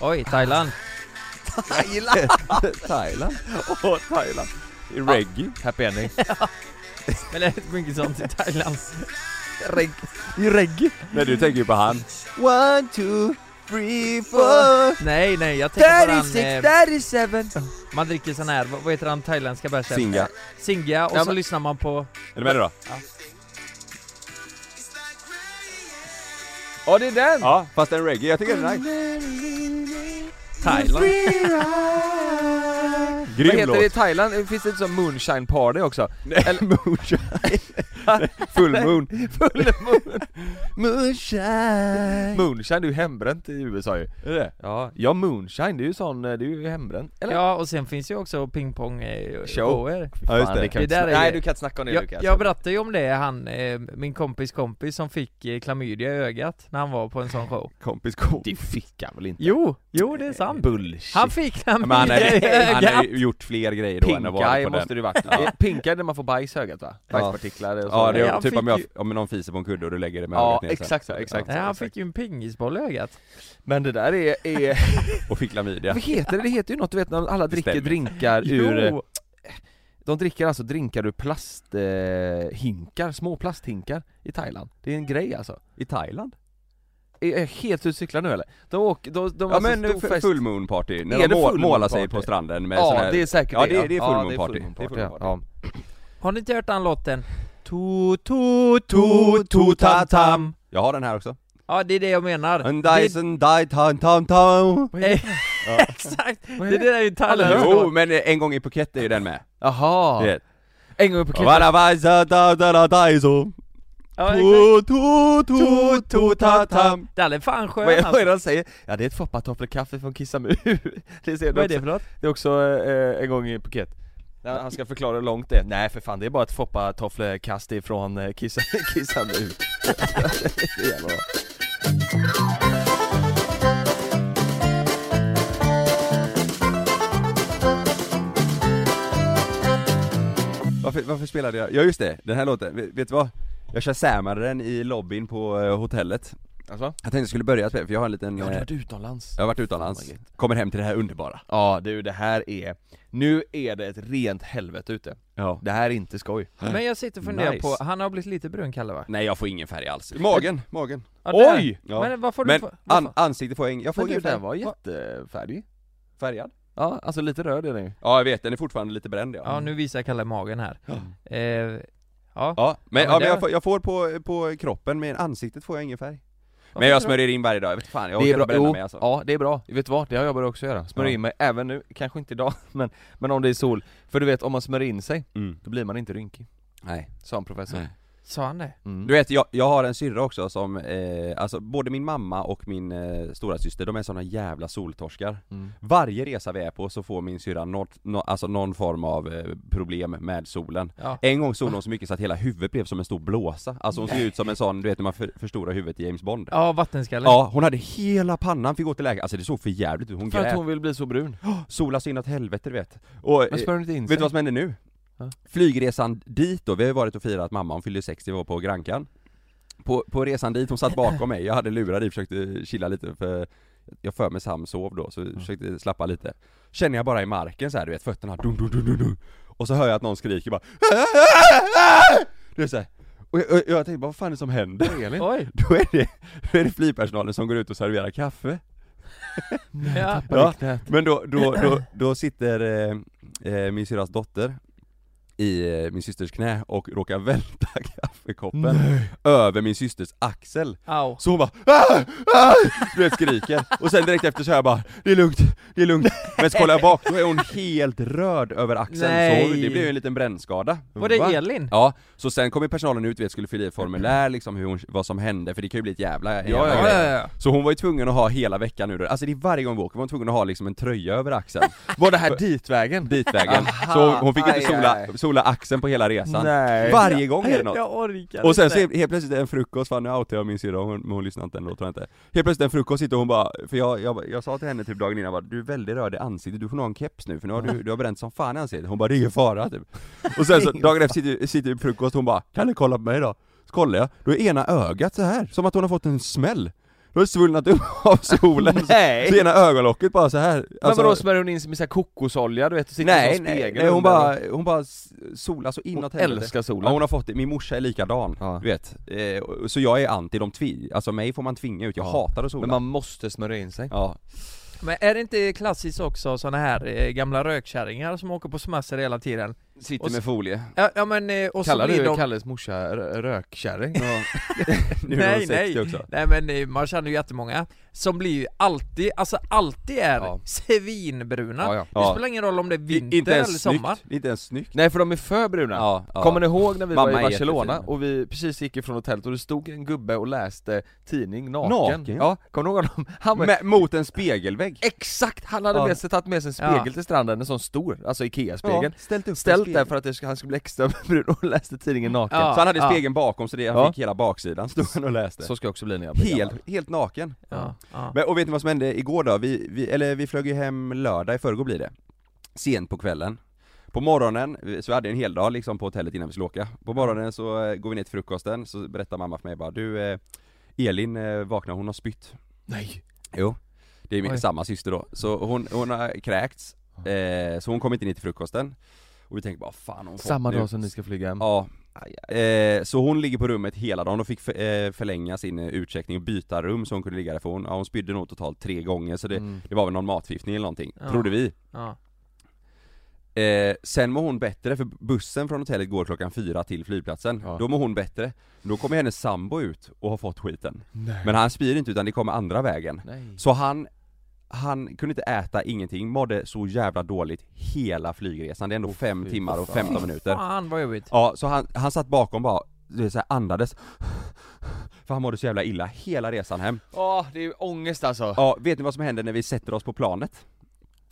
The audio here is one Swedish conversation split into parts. Oj, Thailand. Thailand! Thailand. Åh, Thailand. I reggae. Happy ending. Eller mycket sånt i Thailand. Reg I reggae. Nej, du tänker ju på han. One, two, three, four. Nej, nej, jag tänker på han, 36, eh, 37. man dricker sån här, vad vad heter han thailändska bärsen? Singa. Singa, och Ja, så men- lyssnar man på... Är du med nu då? Ja, det är den! Ja, fast en reggae. Jag tycker det är nice. Thailand. Grym Vad heter låt. det i Thailand? Finns det inte sån moonshine party också? Nej, moonshine. Full moon. Full moon. moonshine. Moonshine, det är ju hembränt i USA ju. Är det Ja, ja moonshine, det är ju sån, det är ju hembränt. Eller? Ja, och sen finns ju också pingpong eh, Show. shower. Ja, just Fan, det. kan Det vi inte där sna- är- Nej, du kan inte snacka om det Jag, Lukas. alltså. jag berättade ju om det, han, eh, min kompis kompis som fick eh, klamydia i ögat när han var på en sån show. Kompis kom. Det fick han väl inte? Jo, jo det är sant. Bullshit. Han fick Ja, Men han klamydia i har, han har ögat. ju gjort fler grejer då än att vara Pink-eye på den. måste du varit. Ja. Pink-eye där man får bajs i ögat va? Ja. Bajspartiklar och så. Ja, det är Han typ fick om, jag, ju- om någon fiser på en kudde och du lägger det med Ja, ögat ner sen. exakt så, exakt. Nej, han alltså. fick ju en pingisboll i ögat. Men det där är, är... Och fick klamydia. Vad heter det? Det heter ju något du vet när alla Det dricker stämmer. drinkar ur... eh, Jo, De dricker alltså drinkar ur plasthinkar, eh, hinkar, små plasthinkar i Thailand. Det är en grej alltså. I Thailand? Är jag helt ute och cyklar nu eller? De åker, de, de har Ja så men stor f- fest. full moon party, när Är de det må- full målar moon sig party? på stranden med sån Ja här... det är säkert Ja, det är- ja. det är full ja, moon det är party. full moon Det är party. full Ja, moon ja. har ni inte hört den låten? To, to, to, to, tam, tam. Jag har den här också. Ja, det är det jag menar. En Det- Dyson die tam tam tam Exakt! Det där är ju Thailand. Jo men en gång i Phuket är ju den med. Jaha! Du vet. En gång på kvällen. Varavajsa da da da Dyson. Ja, exakt. To to to to ta tam. Den är fan skön Vad är, vad alltså. är det han säger? Ja det är ett foppatoppelkaffe från Kissamu. det, ser du Vad är också. det för något? det är också eh, en gång i Phuket. När han ska förklara hur långt det är. Nej för fan det är bara ett foppatofflekast ifrån eh, Kissa, Kissamu. Det är jävla bra. Varför, varför spelade jag? Ja just det, den här låten. Vet, vet du vad? Jag shazamade den i lobbyn på eh, hotellet. Alltså? Jag tänkte jag skulle börja spela, för jag har en liten... Jag eh, har varit utomlands. Jag har varit utomlands, Fan, vad kommer hem till det här underbara Ja du det här är, nu är det ett rent helvete ute. Ja Det här är inte skoj. Men jag sitter och funderar Nice. på, han har blivit lite brun Kalle va? Nej jag får ingen färg alls Magen, magen Ja, Äh, det är- Oj! Ja. Men vad får du Men för... an, ansiktet får jag ingen, jag får Men du ingen färg den var jättefärdig. Färgad? Ja, alltså lite röd är den ju. Ja jag vet, den är fortfarande lite bränd ja Ja nu visar Kalle magen här. Eh, ja. Ja, men, Ja, ja, men men, det- jag, får, jag får på, på kroppen men ansiktet får jag ingen färg Varför Men jag tror du- smörjer in varje dag, jag vet fan, jag det är bra, orkar inte bränna jo, mig alltså ja det är bra. Vet du vad? Det har jag börjat också göra. Smörja Ja. in mig, även nu, kanske inte idag, men, men om det är sol. För du vet, om man smörjer in sig, mm. då blir man inte rynkig. Nej Sa en professor. Nej. Sa han det? Mm. Du vet, jag, jag har en syrra också som, eh, alltså både min mamma och min eh, stora syster, de är såna jävla soltorskar Mm. Varje resa vi är på så får min syrra något, nå- alltså någon form av eh, problem med solen Ja. En gång solade hon så mycket så att hela huvudet blev som en stor blåsa, alltså hon såg ut som en sån, du vet när man för, förstorar huvudet i James Bond Ja, vattenskalle. Ja, hon hade hela pannan, fick gå till läkaren, alltså det såg för jävligt ut, hon För att grät, hon vill bli så brun. sola så inåt helvete du vet Och, eh, Men smörjer hon inte in sig? vet du vad som hände nu? Mm. Ja. Flygresan dit då, vi har ju varit och firat mamma, hon fyllde 60, vi var på Grankan på, på resan dit, hon satt bakom mig, jag hade lurar i, försökte chilla lite för jag för mig Sam sov då, så försökte slappa lite Känner jag bara i marken så här, du vet fötterna, dun, dun, dun, dun, dun. Och så hör jag att någon skriker bara Det är så här. Och jag, och jag tänkte bara, vad fan är det som händer? Elin? Oj! Då är det, då är det flygpersonalen som går ut och serverar kaffe Ja. Tappade knät. Men då, då, då, då sitter eh, eh, min syrras dotter i eh, min systers knä och råkade välta kaffekoppen Mm. över min systers axel. Au. Så hon bara "Ah! Ah!" Du vet skriker, och sen direkt efter så här bara 'Det är lugnt, det är lugnt' Men så kollar jag bak, då är hon helt röd över axeln, så Nej. hon- det blev ju en liten brännskada Var det Va? Elin? Ja, så sen kom ju personalen ut, vet, skulle fylla i ett formulär liksom hur hon, vad som hände, för det kan ju bli ett jävla, jävla ja, grej. ja, ja. Så hon var ju tvungen att ha hela veckan nu då. alltså det är varje gång vi åker var hon tvungen att ha liksom en tröja över axeln Var det här ditvägen? Ditvägen, Aha. så hon fick inte Aj, sola, aj, aj. sola axeln på hela resan Nej. Varje gång är det något Jag orkar och sen så inte. helt helt plötsligt en frukost, fan nu outar jag min syrra, hon, men hon lyssnar inte ändå tror jag inte Helt plötsligt en frukost sitter hon bara, för jag, jag, jag sa till henne typ dagen innan bara, du är väldigt röd i ansiktet, du får nog ha en keps nu för nu har du, du har bränt som fan i ansiktet Hon bara, det är ingen fara typ Och sen så dagen efter sitter, sitter vi på frukost, hon bara, kan du kolla på mig då? Så kollar jag, då är ena ögat så här som att hon har fått en smäll Då har det svullnat upp av solen, Nej. så ena ögonlocket bara så här men Alltså- vadå smörjer hon in sig med så här kokosolja du vet, och sitter Nej, som nej, spegel nej hon under? bara, hon bara s- solar så inåt Hon älskar solen Ja, hon har fått det, min morsa är likadan, Ja. du vet. Eh, och- så jag är anti de tvi, alltså mig får man tvinga ut, jag Ja. hatar att sola. Men man måste smörja in sig Ja. Men är det inte klassiskt också såna här eh, gamla rökkärringar som åker på semester hela tiden? Sitter Och med folie. Ja, ja men, eh, och så Kallar blir du de... Kalles morsa rö- rökkärring? Ja. nu är Nej, hon 60 nej. också. Nej men eh, man känner ju jättemånga som blir ju alltid, alltså alltid är Ja. svinbruna. Ja, ja. Det Ja. spelar ingen roll om det är I- vinter inte ens eller snyggt, sommar. inte ens snyggt. Nej för de är för bruna Ja, ja. Kommer ni ihåg när vi Mamma var i är Barcelona jättefin. och vi precis gick ifrån hotellet och det stod en gubbe och läste tidning naken? Naken? Ja, kommer ni ihåg honom? Han var... Men, mot en spegelvägg. Exakt! Han hade Ja. med sig, tagit med sig en Ja. spegel till stranden, en sån stor, alltså IKEA-spegel ställt upp Ställt där för att det, ska- han skulle bli extra brun och läste tidningen naken Ja. Så han hade Ja. spegeln bakom så det, han Ja. fick hela baksidan, stod han och läste. Så ska jag också bli när jag blir gammal. helt, helt naken. Ja, ja. Men, och vet ni vad som hände igår då? Vi, vi, eller vi flög ju hem lördag, i förrgår blir det. Sent på kvällen. På morgonen, så vi hade en hel dag liksom på hotellet innan vi skulle åka. På morgonen så eh, går vi ner till frukosten, så berättar mamma för mig bara du eh, Elin eh, vaknar, hon har spytt. Nej! Jo. Det är min Oj. samma syster då. Så hon, hon har kräkts, eh, så hon kom inte ner till frukosten. Och vi tänker bara fan hon fått Samma nu. dag som ni ska flyga hem Ja. Eh, så hon ligger på rummet hela dagen och fick för, eh, förlänga sin eh, utcheckning och byta rum så hon kunde ligga där för hon, ja, hon spydde nog totalt tre gånger så det, Mm. det var väl någon matförgiftning eller någonting, Ja. trodde vi. ja. Eh, sen mår hon bättre för bussen från hotellet går klockan fyra till flygplatsen. Ja. Då mår hon bättre. Då kommer hennes sambo ut och har fått skiten. Nej. Men han spyr inte utan det kommer andra vägen. Nej. Så han, han kunde inte äta ingenting, mådde så jävla dåligt hela flygresan. Det är ändå fem fy timmar och fan. 15 minuter. Fan vad jobbigt. Ja, så han, han satt bakom bara, du vet, så här, andades För han mådde så jävla illa hela resan hem Åh, det är ju ångest alltså! Ja, vet ni vad som händer när vi sätter oss på planet?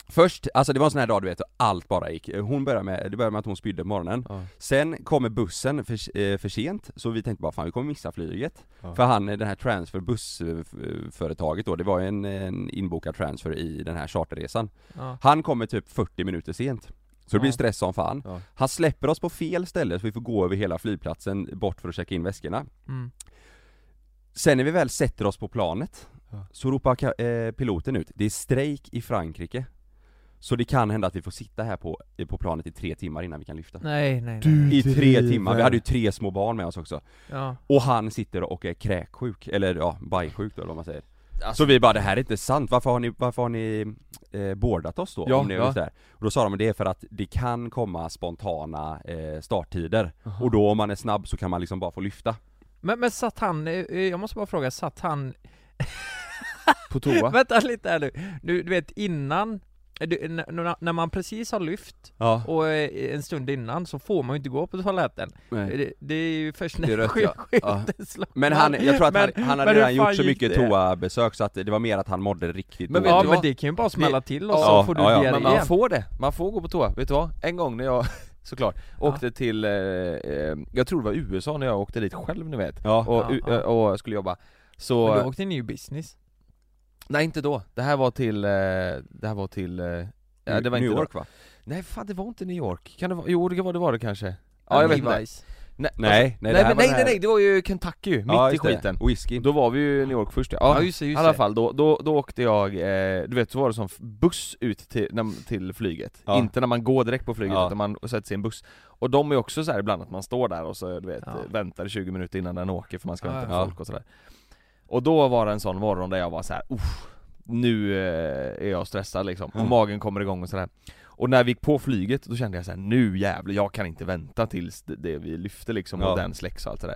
Först, alltså det var en sån här dag du vet, och allt bara gick. Hon började med, det började med att hon spydde på morgonen Ja. Sen kommer bussen för, eh, för sent, så vi tänkte bara fan vi kommer missa flyget Ja. För han, eh, den här transferbussföretaget då, det var ju en, en inbokad transfer i den här charterresan Ja. han kommer typ 40 minuter sent. Så det blir Ja. stress som fan. Ja. Han släpper oss på fel ställe så vi får gå över hela flygplatsen bort för att checka in väskorna. Mm. Sen när vi väl sätter oss på planet Ja. så ropar ka- eh, piloten ut, det är strejk i Frankrike. Så det kan hända att vi får sitta här på, eh, på planet i tre timmar innan vi kan lyfta. Nej, nej, nej. Du I tre timmar, vi hade ju tre små barn med oss också. Ja. Och han sitter och är kräksjuk, eller ja, bajsjuk då eller vad man säger. Så vi bara, det här är inte sant, varför har ni, varför har ni eh, boardat oss då? Ja, om ni ja. ja. där? Och då sa de, det är för att det kan komma spontana eh, starttider, och då om man är snabb så kan man liksom bara få lyfta Men, men satt han, eh, eh, jag måste bara fråga, satt han På toa? Vänta lite här nu. Du, du vet innan, du, n- n- när man precis har lyft Ja, och eh, en stund innan så får man ju inte gå på toaletten. Det, det är ju först Det när är rött, sky- ja. Ja. skylten slocknar. Men han, jag tror att han, han hade men hur redan fan gjort så gick mycket det? toabesök så att det var mer att han mådde riktigt Men men vet Ja du men vad? det kan ju bara smälla till och så Ja, får du ja, ja. diarré Men igen. man får det, man får gå på toa. Vet du vad? En gång när jag, såklart, Ja. åkte till, eh, eh, jag tror det var USA när jag åkte dit själv ni vet, Ja, och, eh, Ja, ja. och, och skulle jobba. Men du Så, åkte in i ju business. nej inte då. Det här var till, eh, det här var till, eh, ja, det var New inte York va? Då. Nej fan det var inte New York, kan det vara, jo det var det, var det kanske. Ja jag vet inte. Nej, Levi's. Nej, nej, nej det nej, här men, var nej, det nej här- nej, det var ju Kentucky, mitt Ja, i just det. skiten. Whisky Då var vi ju i New York först ja. Ja ja. just det, I just alla det. fall, då, då, då åkte jag, eh, du vet så var det som f- buss ut till, när, till flyget Ja. Inte när man går direkt på flyget Ja. utan man sätter sig i en buss Och de är också så här ibland att man står där och så du vet, Ja. eh, väntar 20 minuter innan den åker för man ska Ja, vänta på ja. folk och sådär Och då var det en sån morgon där jag var så här, "Uff, nu eh, är jag stressad liksom, och Mm. magen kommer igång och sådär Och när vi gick på flyget, då kände jag så här: nu jävlar, jag kan inte vänta tills det, det vi lyfte liksom Ja. och den släcks och allt det där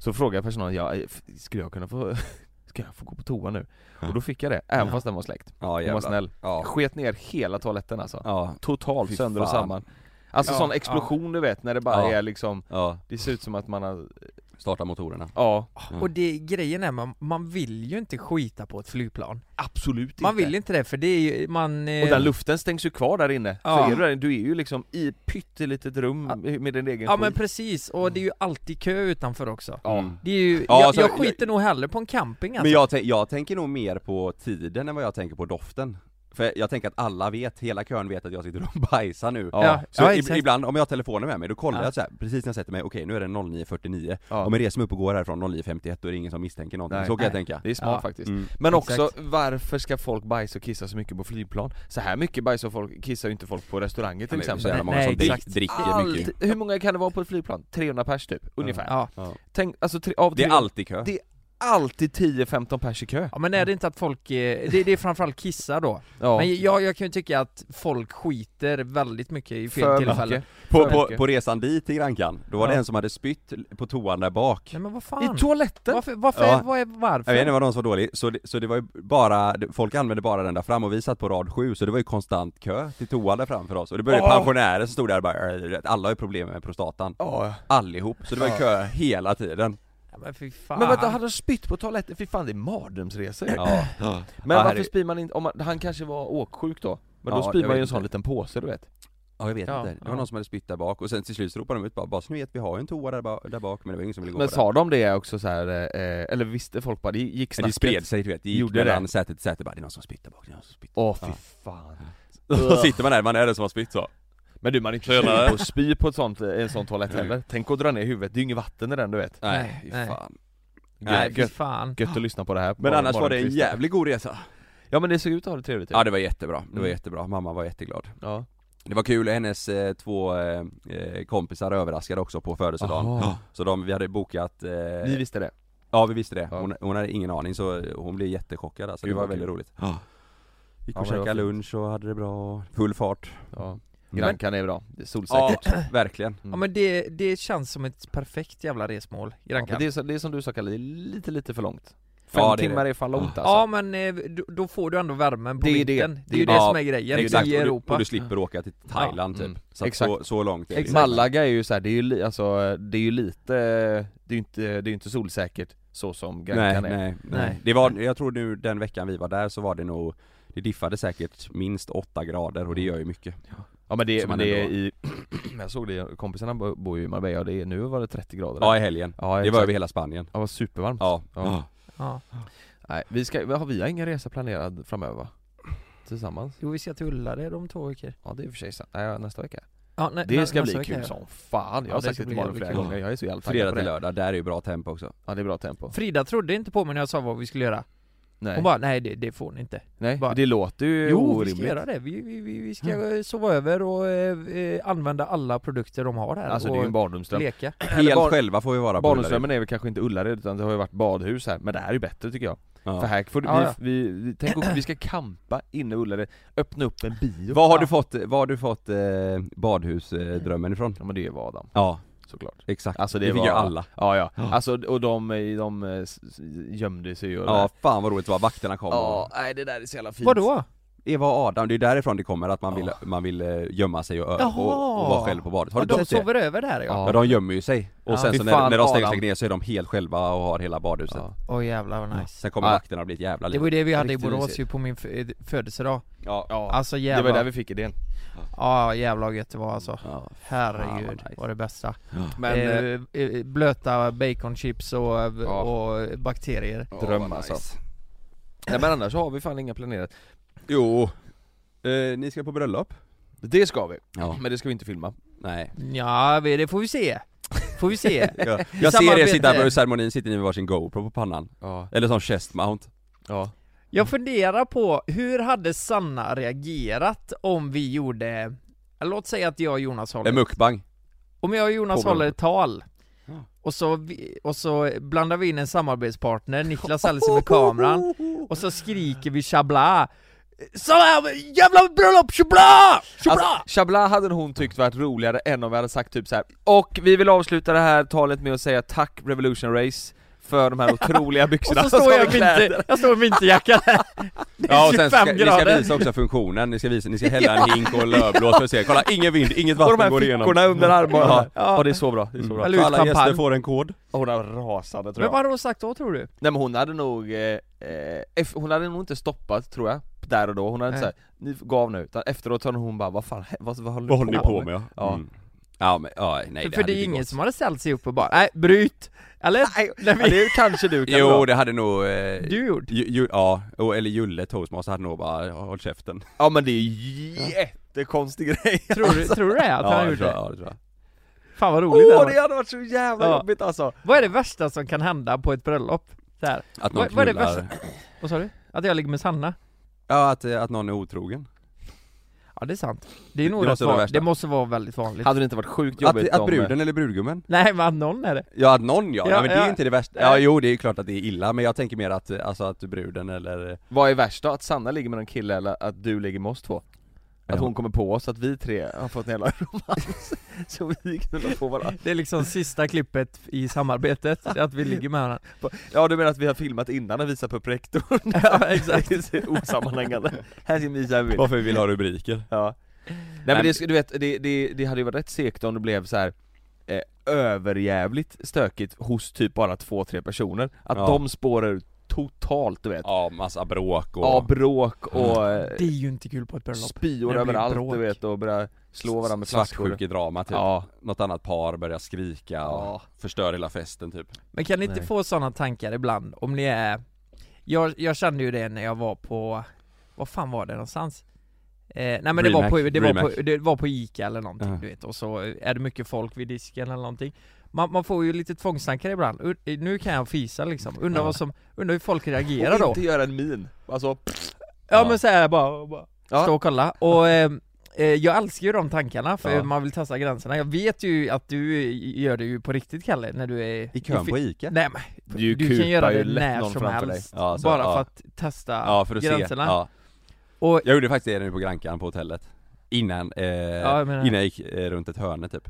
Så frågade personalen, ja, eh, f- skulle jag kunna få, ska jag få gå på toa nu? Ja. Och då fick jag det, även Ja. fast den var släckt. Ja Hon var jävlar. snäll. Jag Ja. sket ner hela toaletten alltså. Ja. Totalt Fy sönder och fan. samman. Alltså Ja, sån ja. explosion du vet, när det bara Ja. är liksom, Ja. det ser ut som att man har, Starta motorerna. ja Mm. Och det, grejen är, man, man vill ju inte skita på ett flygplan. absolut Man vill inte Typ det för det är ju, man... eh, Och den luften stängs ju kvar där inne, Ja. så är du, där- du är ju liksom i ett pyttelitet rum med din egen Ja men skit. precis, och det är ju alltid kö utanför också. Ja. Mm. Det är ju, Ja, jag, alltså, Mm. jag skiter nog hellre på en camping alltså. Men jag, tän- jag tänker nog mer på tiden än vad jag tänker på doften. För jag tänker att alla vet, hela kön vet att jag sitter och bajsar nu. Ja. Så ja, ib- exakt. ibland, om jag har telefonen med mig, då kollar Ja. jag så här, precis när jag sätter mig, okej nu är det 09.49, Ja. om jag reser mig upp och går härifrån 09.51 då är det ingen som misstänker någonting, Nej. så kan jag Nej. tänka. Det är smart Ja. faktiskt Mm. Men Exakt. också, varför ska folk bajsa och kissa så mycket på flygplan? Så här mycket bajsar folk, kissar ju inte folk på restauranger till Men det är så exempel jävla många Nej, som drick, exakt. dricker mycket. Allt, hur många kan det vara på ett flygplan? 300 pers typ, ungefär ja. Tänk, alltså tre, av Det är 300 alltid kö. Det- alltid 10-15 pers i kö ja men är det inte att folk, eh, det, det är framförallt kissar då. Mm. Ja, Men jag, jag kan ju tycka att folk skiter väldigt mycket i fel för tillfällen. mycket På, för på, mycket. på resan dit till Grankan, då var det Ja. en som hade spytt på toan där bak. Nej men vad I fan? toaletten? Varför, varför, Ja. vad är, varför? Jag vet inte vad de som var dålig, så det, så det var ju bara, folk använde bara den där fram och vi satt på rad 7 så det var ju konstant kö till toan där framför oss och det började Åh. pensionärer som stod där och bara "Äh, alla har ju problem med prostatan, Ja. allihop, så det var ju Ja. kö hela tiden Ja, men fy fan. Men vänta, hade han spytt på toaletten? Fy fan det är mardrömsresor Ja, Men Ja, varför herre- spyr man inte, om man, han kanske var åksjuk då? Men då Ja, spyr jag man vet ju en sån inte. liten påse du vet ja jag vet Ja, inte, det var ja. någon som hade spytt där bak och sen till slut så ropade de ut bara, bara så ni vet vi har ju en toa där, ba- där bak men det var ingen som ville gå Men på sa den de det också så här, eh, eller visste folk bara, det gick Men det snacket? spred sig du vet, det gick Gjorde det? mellan säte till säte bara det är någon som spytt där bak, det är någon som spytt Åh fy Ja. fan Då sitter man där, man är den som har spytt så Men du man är inte sugen på att spy på ett sånt, eh, en sån toalett Mm. heller Tänk att dra ner huvudet, det är ju inget vatten i den du vet Nej, fy nej. fan Nej fy Gött, fan. gött att lyssna på det här Men Bara- annars bara var det en trist. jävligt god resa Ja men det såg ut att ha det trevligt typ. Ja det var jättebra, det var Mm. jättebra, mamma var jätteglad ja. Det var kul, hennes eh, två eh, eh, kompisar överraskade också på födelsedagen Aha. Så de, vi hade bokat, eh, Ni visste det? ja vi visste det, Ja. hon, hon hade ingen aning så hon blev jättechockad alltså, det Gud, var vad väldigt kul. roligt Gick Ja, och men det var käkade fint. lunch och hade det bra, full fart Ja Mm. Grankan är bra, det är Ja, solsäkert verkligen Mm. Ja men det, det känns som ett perfekt jävla resmål, Ja, men Grankan. det, är, så- det är som du sa Kalle, det är lite lite för långt Fem Ja, det är timmar är fan långt alltså Ja men eh, då- då får du ändå värmen på Det är det. vintern. Det, är ju Det det är- som är grejen Exakt, i och du, Europa. och du slipper åka till Thailand Ja, typ mm. Så, att Exakt. så, så långt är det Exakt. Malaga är ju så här, det är ju, li, alltså, det är ju lite, det är ju inte, det är ju inte solsäkert så som nej, Grankan är nej, nej. Nej. Det var, jag tror nu den veckan vi var där så var det nog Det diffade säkert minst 8 grader och det gör ju mycket Ja men det, men Som man det är ändå- i, jag såg det, kompisarna bo- bor ju i Marbella och det är, nu var det 30 grader där. Ja i helgen, ja det var över hela Spanien det var supervarmt Ja, Mm. Ja. Ja. Nej, vi ska, har vi har ingen resa planerad framöver va? Tillsammans? Jo vi ska till Ullared om två veckor. Ja det är i och för sig sant, nej nästa vecka Ja, nej, alltså, Det nä- ska bli nästa vecka, kul ja. som fan, jag Ja, har sagt det ska det till bli Malin flera jävligt gånger, jag är så jävla taggad Fredag på till det lördag, där är ju bra tempo också Ja det är bra tempo Frida trodde inte på mig när jag sa vad vi skulle göra. Nej, Hon bara, nej det, det får ni inte. nej bara- det låter ju Jo, vi orimligt ska göra det. Vi, vi, vi, vi ska eh, sova över och eh, eh, använda alla produkter de har här Alltså det är och ju en barndomsdröm leka. Helt barn- själva får vi vara på Barndomsdrömmen är väl kanske inte Ullared utan det har ju varit badhus här, men det här är ju bättre tycker jag Ja. För här får du, Ja, ja. vi, vi, vi, tänk att vi ska kampa inne i Ullared, öppna upp en bio Vad har du fått, vad har du fått eh, badhusdrömmen ifrån? Ja men det var Adam, Ja, såklart exakt. Alltså det det, fick var... ju alla. Ja ja, Ja. alltså och de, de eh, s- s- gömde sig och Ja, fan vad roligt det var, vakterna kom ja och... nej det där är så jävla fint Vadå? Eva och Adam, det är därifrån det kommer att man vill, Ja. man vill eh, gömma sig och, ö- Jaha. och, och vara själv på badet. Har Ja, du inte de sett det? sover över där ja. Ja, de gömmer ju sig. Och Ja. sen Fy så när, fan, när de stänger sig Adam. ner så är de helt själva och har hela badhuset. Ja. Åh jävlar vad nice. Sen kommer Ja. vakterna och blir ett jävla Det liv. var ju det vi hade i Riktigt Borås mysigt. ju på min f- eh, födelsedag. Ja. ja. Alltså Det var jävlar. där vi fick idén Ja jävlar vad gött det var alltså. Ja. Herregud, Fan, vad nice. var det bästa. Men eh, eh, eh, blöta baconchips och, eh, Ja. och bakterier. Ja, dröm vad alltså. nej, men annars har vi fan inga planerat Jo. Eh, ni ska på bröllop? Det ska vi, Ja. men det ska vi inte filma Nej. Ja, vi- det får vi se. Får vi se. Jag, jag ser er samarbete. sitta på ceremonin, sitter ni med varsin GoPro på pannan. Ja, Eller som chest mount. ja. Mm. Jag funderar på, hur hade Sanna reagerat om vi gjorde, låt säga att jag och Jonas håller En mukbang. Om jag och Jonas Påbröd. håller ett tal Ja. och så, vi- och så blandar vi in en samarbetspartner, Niklas ställer sig med kameran Och så skriker vi chabla Såna här jävla bröllop, tjobla! Tjobla! Alltså, Chabla hade hon tyckt varit roligare än om vi hade sagt typ så här. Och vi vill avsluta det här talet med att säga tack Revolution Race för de här otroliga Alltså, byxorna och så står som jag, vi i klär. vinter, jag står i vinterjackan här. Det är Ja och sen 25 ska, ni ska grader. visa också funktionen, ni ska visa, ni ska hälla en hink och en lövblås för att se, kolla ingen vind, inget Och vatten de här går igenom fickorna under armarna. Ja. Ja. det är så bra, det är så bra. Mm. Eller ut alla gäster champagne. får en kod Hon är rasande tror Men jag. vad hade hon sagt då tror du? Nej men hon hade nog, eh, eh, eff- hon hade nog inte stoppat tror jag, där och då, hon hade inte såhär, Nej. ni gav nu, utan efteråt hade hon bara vad fan, hä- vad, vad håller Vad du håller ni på med? Ja. Ja, mm. ja men, ja, nej för det hade är inte ingen gått. som hade ställt sig upp och bara nej, bryt! Eller? Nej, Nej, ja, men- det är kanske du kan Jo dra. det hade nog, eh, Du gjort? ju, ju, ja, och, eller Julle toastmaster hade nog bara, "Ja, håll käften Ja men det är ju jättekonstig grej Tror du, tror du det? Att han det har gjort tror jag, det? ja, det tror jag. Fan vad Åh roligt det hade det varit. hade varit så jävla Ja. jobbigt alltså! Vad är det värsta som kan hända på ett bröllop? Så här. Att någon Vad- vad är det knullar, Vad sa du? Att jag ligger med Sanna? ja att, eh, att någon är otrogen Ja det är sant. Det är nog Det rätt måste vara det van- värsta. Det måste vara väldigt vanligt. Hade det inte varit sjukt att, jobbigt om- att eh, bruden eller brudgummen? Nej men att någon är det. Ja att någon ja, Ja, nej, men det ja. är inte det värsta, ja jo det är klart att det är illa men jag tänker mer att, eh, alltså att bruden eller eh, Vad är värst då? Att Sanna ligger med en kille eller att du ligger med oss två? Att Ja. hon kommer på oss, att vi tre har fått en jävla romans, så vi knullar på varandra Det är liksom sista klippet i samarbetet, att vi ligger med varandra. Ja du menar att vi har filmat innan och visat upp rektorn? Ja, exakt. Det är så osammanhängande, här ska ni visa en bild varför vi vill ha rubriker Ja. Nej men det, sk- du vet, det, det, det hade ju varit rätt segt om det blev så här eh, överjävligt stökigt hos typ bara två, tre personer. Att Ja. de spårar ut totalt du vet. Ja, Ja, massa bråk och... bråk och eh, Det är ju inte kul på ett bröllop. spyor När det blir överallt bråk. du vet och börjar slå varandra med flaskor. Svartsjukedrama typ. Ja. Något annat par börjar skrika och Ja. förstör hela festen typ. Men kan ni inte Nej. få sådana tankar ibland om ni är jag, jag kände ju det när jag var på, vad fan var det någonstans? Eh, nej men det var, Remax, på, det, var Remax. på, det var på Ica eller någonting Ja. du vet, och så är det mycket folk vid disken eller någonting Man, man får ju lite tvångstankar ibland, U- eh, nu kan jag fisa liksom, undrar Ja. vad som, undrar hur folk reagerar Och då? inte göra en min. Alltså, Ja, Ja. men såhär bara, bara Ja. stå och kolla, och eh, eh, jag älskar ju de tankarna för Ja. man vill testa gränserna, jag vet ju att du gör det ju på riktigt Kalle, när du är I kön på Ica? Nej men, Du du, kupar kan göra ju det lätt när någon som framför helst, dig. Ja, så- bara ja. för att testa Ja, för att gränserna. se. Ja. Och, Jag gjorde faktiskt det nu på Grankan på hotellet. Innan, eh, Ja, jag menar- innan jag gick eh, runt ett hörne typ.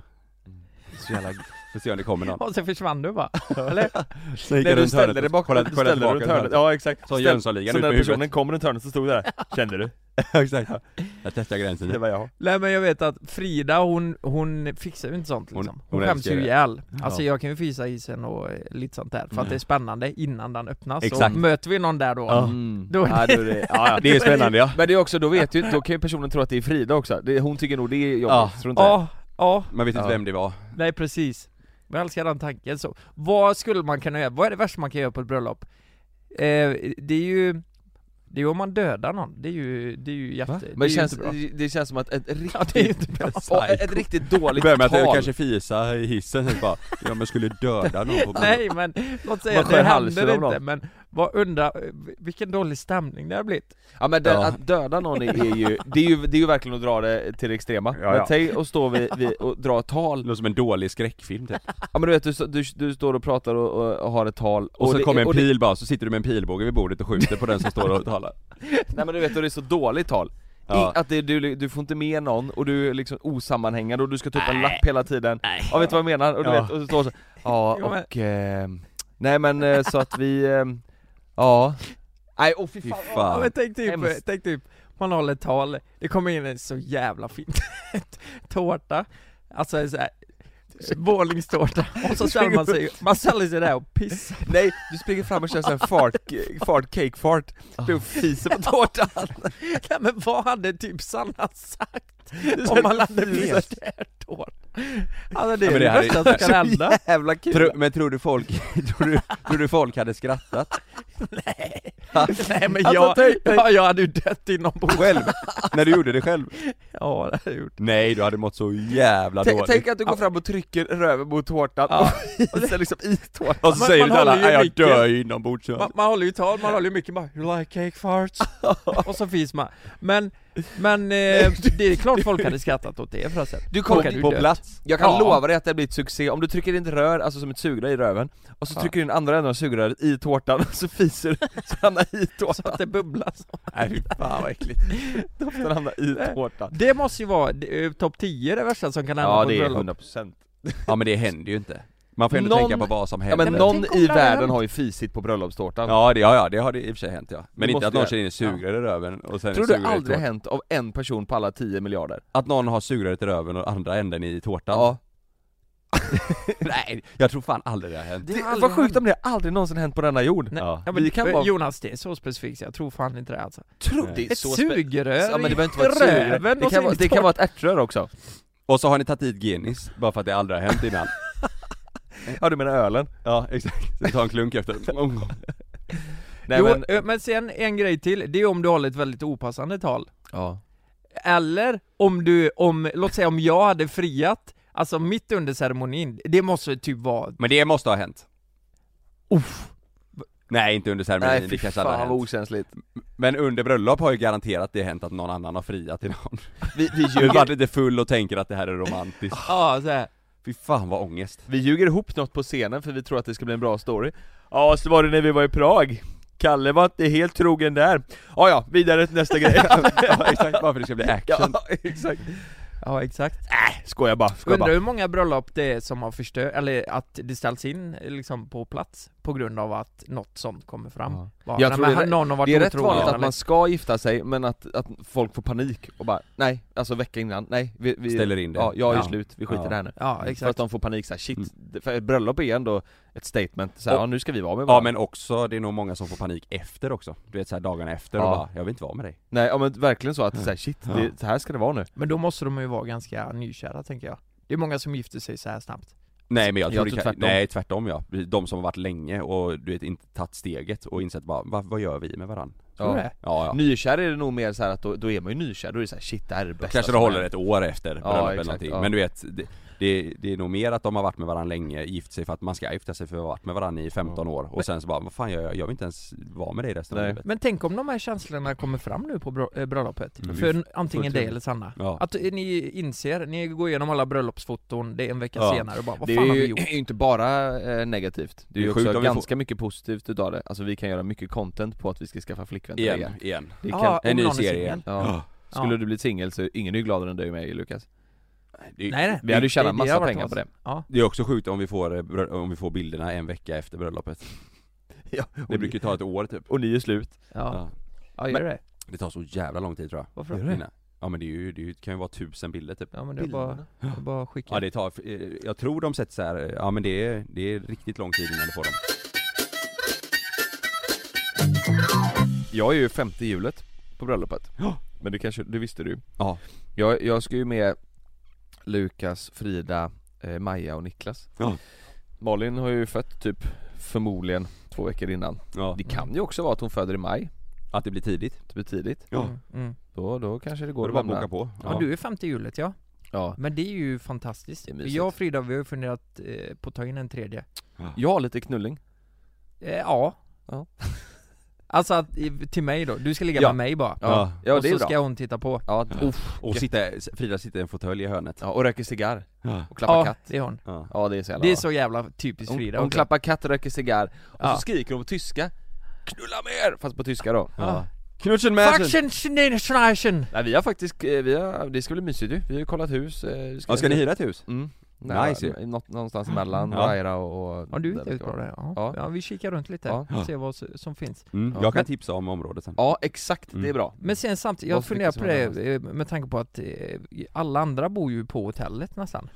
så jävla... För att se om det kommer någon. och sen försvann du bara, eller? Så gick Nej jag du runt hörnet ställde och dig bakom, kollade- du kollade ställde dig runt tillbaka hörnet. Ja exakt. Som Ställ- Jönssonligan Så ut med när personen huvudet. kom runt hörnet så stod det där, kände du? Exakt. Jag testar gränsen. Det var jag. Nej men jag vet att Frida hon, hon fixar ju inte sånt Hon- liksom Hon, hon skäms ju älskar det. ihjäl Alltså Ja. jag kan ju fysa isen och eh, lite sånt där, för att Mm. det är spännande innan den öppnas Exakt. Och möter vi någon där då, Ja. Mm. Då- Ja, då är det, ja, ja. Det är spännande ja. Men det är också, då vet ju, då kan ju personen tro att det är Frida också, det, hon tycker nog det är jobbigt, Ja. tror du inte det? ja, ja, Man vet inte Ja. vem det var. nej precis Men jag älskar den tanken så Vad skulle man kunna göra, vad är det värsta man kan göra på ett bröllop? Eh, det är ju, det är ju om man dödar någon, det är ju, det är ju jätte, Va? det är Men det ju känns, inte bra. det känns som att ett Ja det är ju riktigt, inte bra och ett, ett riktigt dåligt Börjar tal med att jag kanske fisa i hissen sen bara, ja men skulle döda någon på Nej men, låt säga Man att skär det halsen händer av inte någon. men, vad undra, vilken dålig stämning det har blivit Ja men dö, Ja. att döda någon är är ju, det är ju, det är ju verkligen att dra det till det extrema Ja, Men ja. tänk och stå vid, vid, och dra ett Det tal, låter som en dålig skräckfilm typ. ja men du vet du, du, du står och pratar och, och, och har ett tal Och, så det, kommer en och det, pil bara, så sitter du med en pilbåge vid bordet och skjuter på den som står och talar. Nej men du vet, och det är så dåligt tal Ja. I, att det, du, du får inte med någon och du är liksom osammanhängande och du ska ta upp en lapp hela tiden Ja vet du vad jag menar? Och du Ja. vet, och så står det så Ja Jo, men- och, ehm, nej men eh, så att vi, ehm, ja Nej och fy Fy fan, Ja, fan. men tänk typ, Hemskt. tänk typ, man håller ett tal, det kommer in en så jävla fin tårta, alltså en så här våningstårta, och så ställer man sig, man ställer sig där och pissar nej du springer fram och kör sån här fart, fart cake fart, du fiser på tårtan Nej men vad hade typ Sanna sagt? Om man hade pissat där tårta? Alltså det är Ja, men det det här är- värsta som kan hända Jävla kul! Tro, men tror du folk, tror du, tror du folk hade skrattat? Nej men Alltså, jag, tänk dig- ja, jag hade ju dött inombords Själv? När du gjorde det själv? Ja det hade jag gjort Nej, du hade mått så jävla Tänk- dåligt. Tänk att du går fram och trycker röven mot tårtan Ja. och fiser liksom i tårtan och så man- säger du man till alla, håller ju "Nej, jag micken." dör inombords. man, man håller ju tal, man håller ju mycket bara 'You like cake farts' och så finns man Men, Men eh, det är klart folk hade skrattat åt det förresten Du kom Folk hade ju på dött. plats. Jag kan Ja. lova dig att det blir ett succé, om du trycker in ett rör, alltså som ett sugrör i röven, och så Ja. trycker du in andra änden av sugröret i tårtan, och så fiser du, så hamnar i Så tårtan. att det bubblas Nej fy fan vad äckligt. Doften hamnar i tårtan. Det måste ju vara eh, topp 10 det värsta som kan hända Ja på det är bröllop 100%. Ja men det händer ju inte Man får ju ändå Någon- tänka på vad som Ja händer men men någon tänk om i det hade världen hänt. har ju fisit på bröllopstårtan. Ja, det, ja, ja, det har det i och för sig hänt ja. Men Det inte måste att någon det. kör in ett sugrör i röven och sen Tror ett du sugrör i aldrig tårtan. hänt av en person på alla 10 miljarder? Att någon har sugröret i röven och andra änden i tårtan? Ja. Nej, jag tror fan aldrig det har hänt Det har Det, aldrig vad sjukt hänt. om det aldrig någonsin hänt på denna jord. Nej. Ja. Ja, men, eh, Vi kan vara- Jonas det är så specifikt, jag tror fan inte det alltså Tror Nej. det är Ett så spe- sugrör Ja men det i behöver inte vara ett sugrör. röven Det och kan, sen vara, i det kan tårtan. vara ett ärtrör också. Och så har ni tagit hit Guinness, bara för att det aldrig har hänt innan Ja du menar ölen? Ja, exakt Så Ta en klunk efter Nej jo, men, eh, men sen en grej till, det är om du håller ett väldigt opassande tal ja. Eller om du, om, låt säga om jag hade friat, alltså mitt under ceremonin, det måste typ vara Men det måste ha hänt Uff. Nej, inte under ceremonin, Nej det fy kanske aldrig har fan vad hänt okänsligt. Men under bröllop har ju garanterat det hänt att någon annan har friat till någon Vi, vi, Du har ljuger, varit lite full och tänker att det här är romantiskt Ja, så här. Fy fan vad ångest vi ljuger ihop något på scenen för vi tror att det ska bli en bra story. Ja så var det när vi var i Prag. Kalle var inte helt trogen där. Ja ja, vidare till nästa grej. Ja, exakt, bara för det ska bli action ja exakt. ja exakt. Äh, skojar bara, skojar Undrar bara. hur många bröllop det är som har förstört, eller att det ställs in eh, liksom på plats på grund av att något sånt kommer fram. Ja. Bara, Jag nej, tror men det är- han- någon har varit Det är rätt otrogen vanligt att eller- man ska gifta sig men att, att folk får panik och bara nej, alltså vecka innan, nej vi, vi Ställer in det Ja, jag är Ja. slut, vi skiter i Ja. det här nu. Ja, För att exakt. de får panik såhär, shit, Mm. det- för ett bröllop är ändå ett statement, såhär, Och- ja nu ska vi vara med Ja varandra. men också, det är nog många som får panik efter också Du vet såhär dagarna efter och Ja. bara, jag vill inte vara med dig Nej ja, men verkligen så att såhär, shit, Ja. det, så här ska det vara nu. Men då måste de ju vara ganska nykära, tänker jag. Det är många som gifter sig så här snabbt. Nej men jag Jag tror tror, det kan, typ tvärtom. nej tvärtom ja, de som har varit länge och du vet inte tagit steget och insett bara, vad, vad gör vi med varann? Tror du Ja. det? Ja, ja. Nykär är det nog mer såhär att då, då är man ju nykär, då är det såhär, shit det här är det bästa Kanske det som håller hänt. ett år efter bröllop eller exakt, någonting. ja. Men du vet, det, det, det är nog mer att de har varit med varandra länge, gift sig för att man ska gifta sig för att ha varit med varandra i 15 år och sen så bara, vad fan gör jag? Jag vill inte ens vara med dig resten av Nej. livet. Men tänk om de här känslorna kommer fram nu på bro- eh, bröllopet. Mm. För n- antingen Fullt dig rimligt. eller Sanna. Ja. Att ni inser, ni går igenom alla bröllopsfoton, det är en vecka Ja. senare och bara vad Det fan är har vi ju gjort? är ju inte bara eh, negativt, det är Det ju är sjukt också om vi får- ganska mycket positivt utav det, alltså vi kan göra mycket content på att vi ska skaffa flickvän till Igen, Vega. igen. Det Ja, kan, om En ny någon är serie singel. igen. Ja. Skulle Ja. du bli singel så ingen är ju gladare än du och mig Lukas Nej, Det, nej. Vi hade ju Det- tjänat det massa har varit pengar på det Ja. det är också sjukt om vi, får, eh, brö- om vi får bilderna en vecka efter bröllopet. ja, och, Det brukar ju ta ett år typ. och ni är slut Ja, Ja. ja gör Men- det. Det tar så jävla lång tid tror jag. Varför Innan. Ja men det, är ju, det är ju- det kan ju vara tusen bilder typ. Ja men det är bara, det är bara att skicka. Ja det tar, eh, jag tror de sätter så här, eh, ja men det är, det är riktigt lång tid innan du får dem. Jag är ju femte hjulet på bröllopet Men det kanske, det visste du ju. Ja. jag, jag ska ju med Lukas, Frida, eh, Maja och Niklas Ja. Malin har ju fött typ förmodligen två veckor innan Ja. Det kan ju också vara att hon föder i maj, Att det blir tidigt. typ tidigt Ja. Mm, mm. Då, då kanske det går Går det att bara att lämna. boka på. Ja. du är femte hjulet ja. Ja. Men det är ju fantastiskt. Det är mysigt. jag och Frida vi har ju funderat eh, på att ta in en tredje. Jag har lite knulling Eh, ja. Ja. alltså att, i- till mig då. Du ska ligga Ja. med mig bara. Ja. ja och det är så bra ska hon titta på. ja, uff. Och sitta, Frida sitter i en fåtölj i hörnet. ja, och röker cigarr Ja. och klappar ja, katt det är hon. Ja. Ja det är så jävla Det är bra. så jävla typiskt Hon, Frida hon också. klappar katt, röker cigarr och Ja. så skriker hon på tyska Knulla mer! Fast på tyska då Ja. Knutsen Faxen, schneider, schneischen. Nej vi har faktiskt, eh, vi har, det ska bli mysigt ju, vi har ju kollat hus eh, vi Ja, ska ni hyra ett hus? Mm, Nice ju. ju Nå- Någonstans mellan Ja. Raira och... och Ja du där är vi inte ska vara. bra det. Ja. Ja. Ja. vi kikar runt lite, Ja. ser vad s- som finns. Mm. Ja. Jag kan Men- tipsa om området sen. Ja exakt, det är Mm. bra Men sen samtidigt, Vad jag så funderar mycket på som det händer eh, med tanke på att eh, alla andra bor ju på hotellet nästan.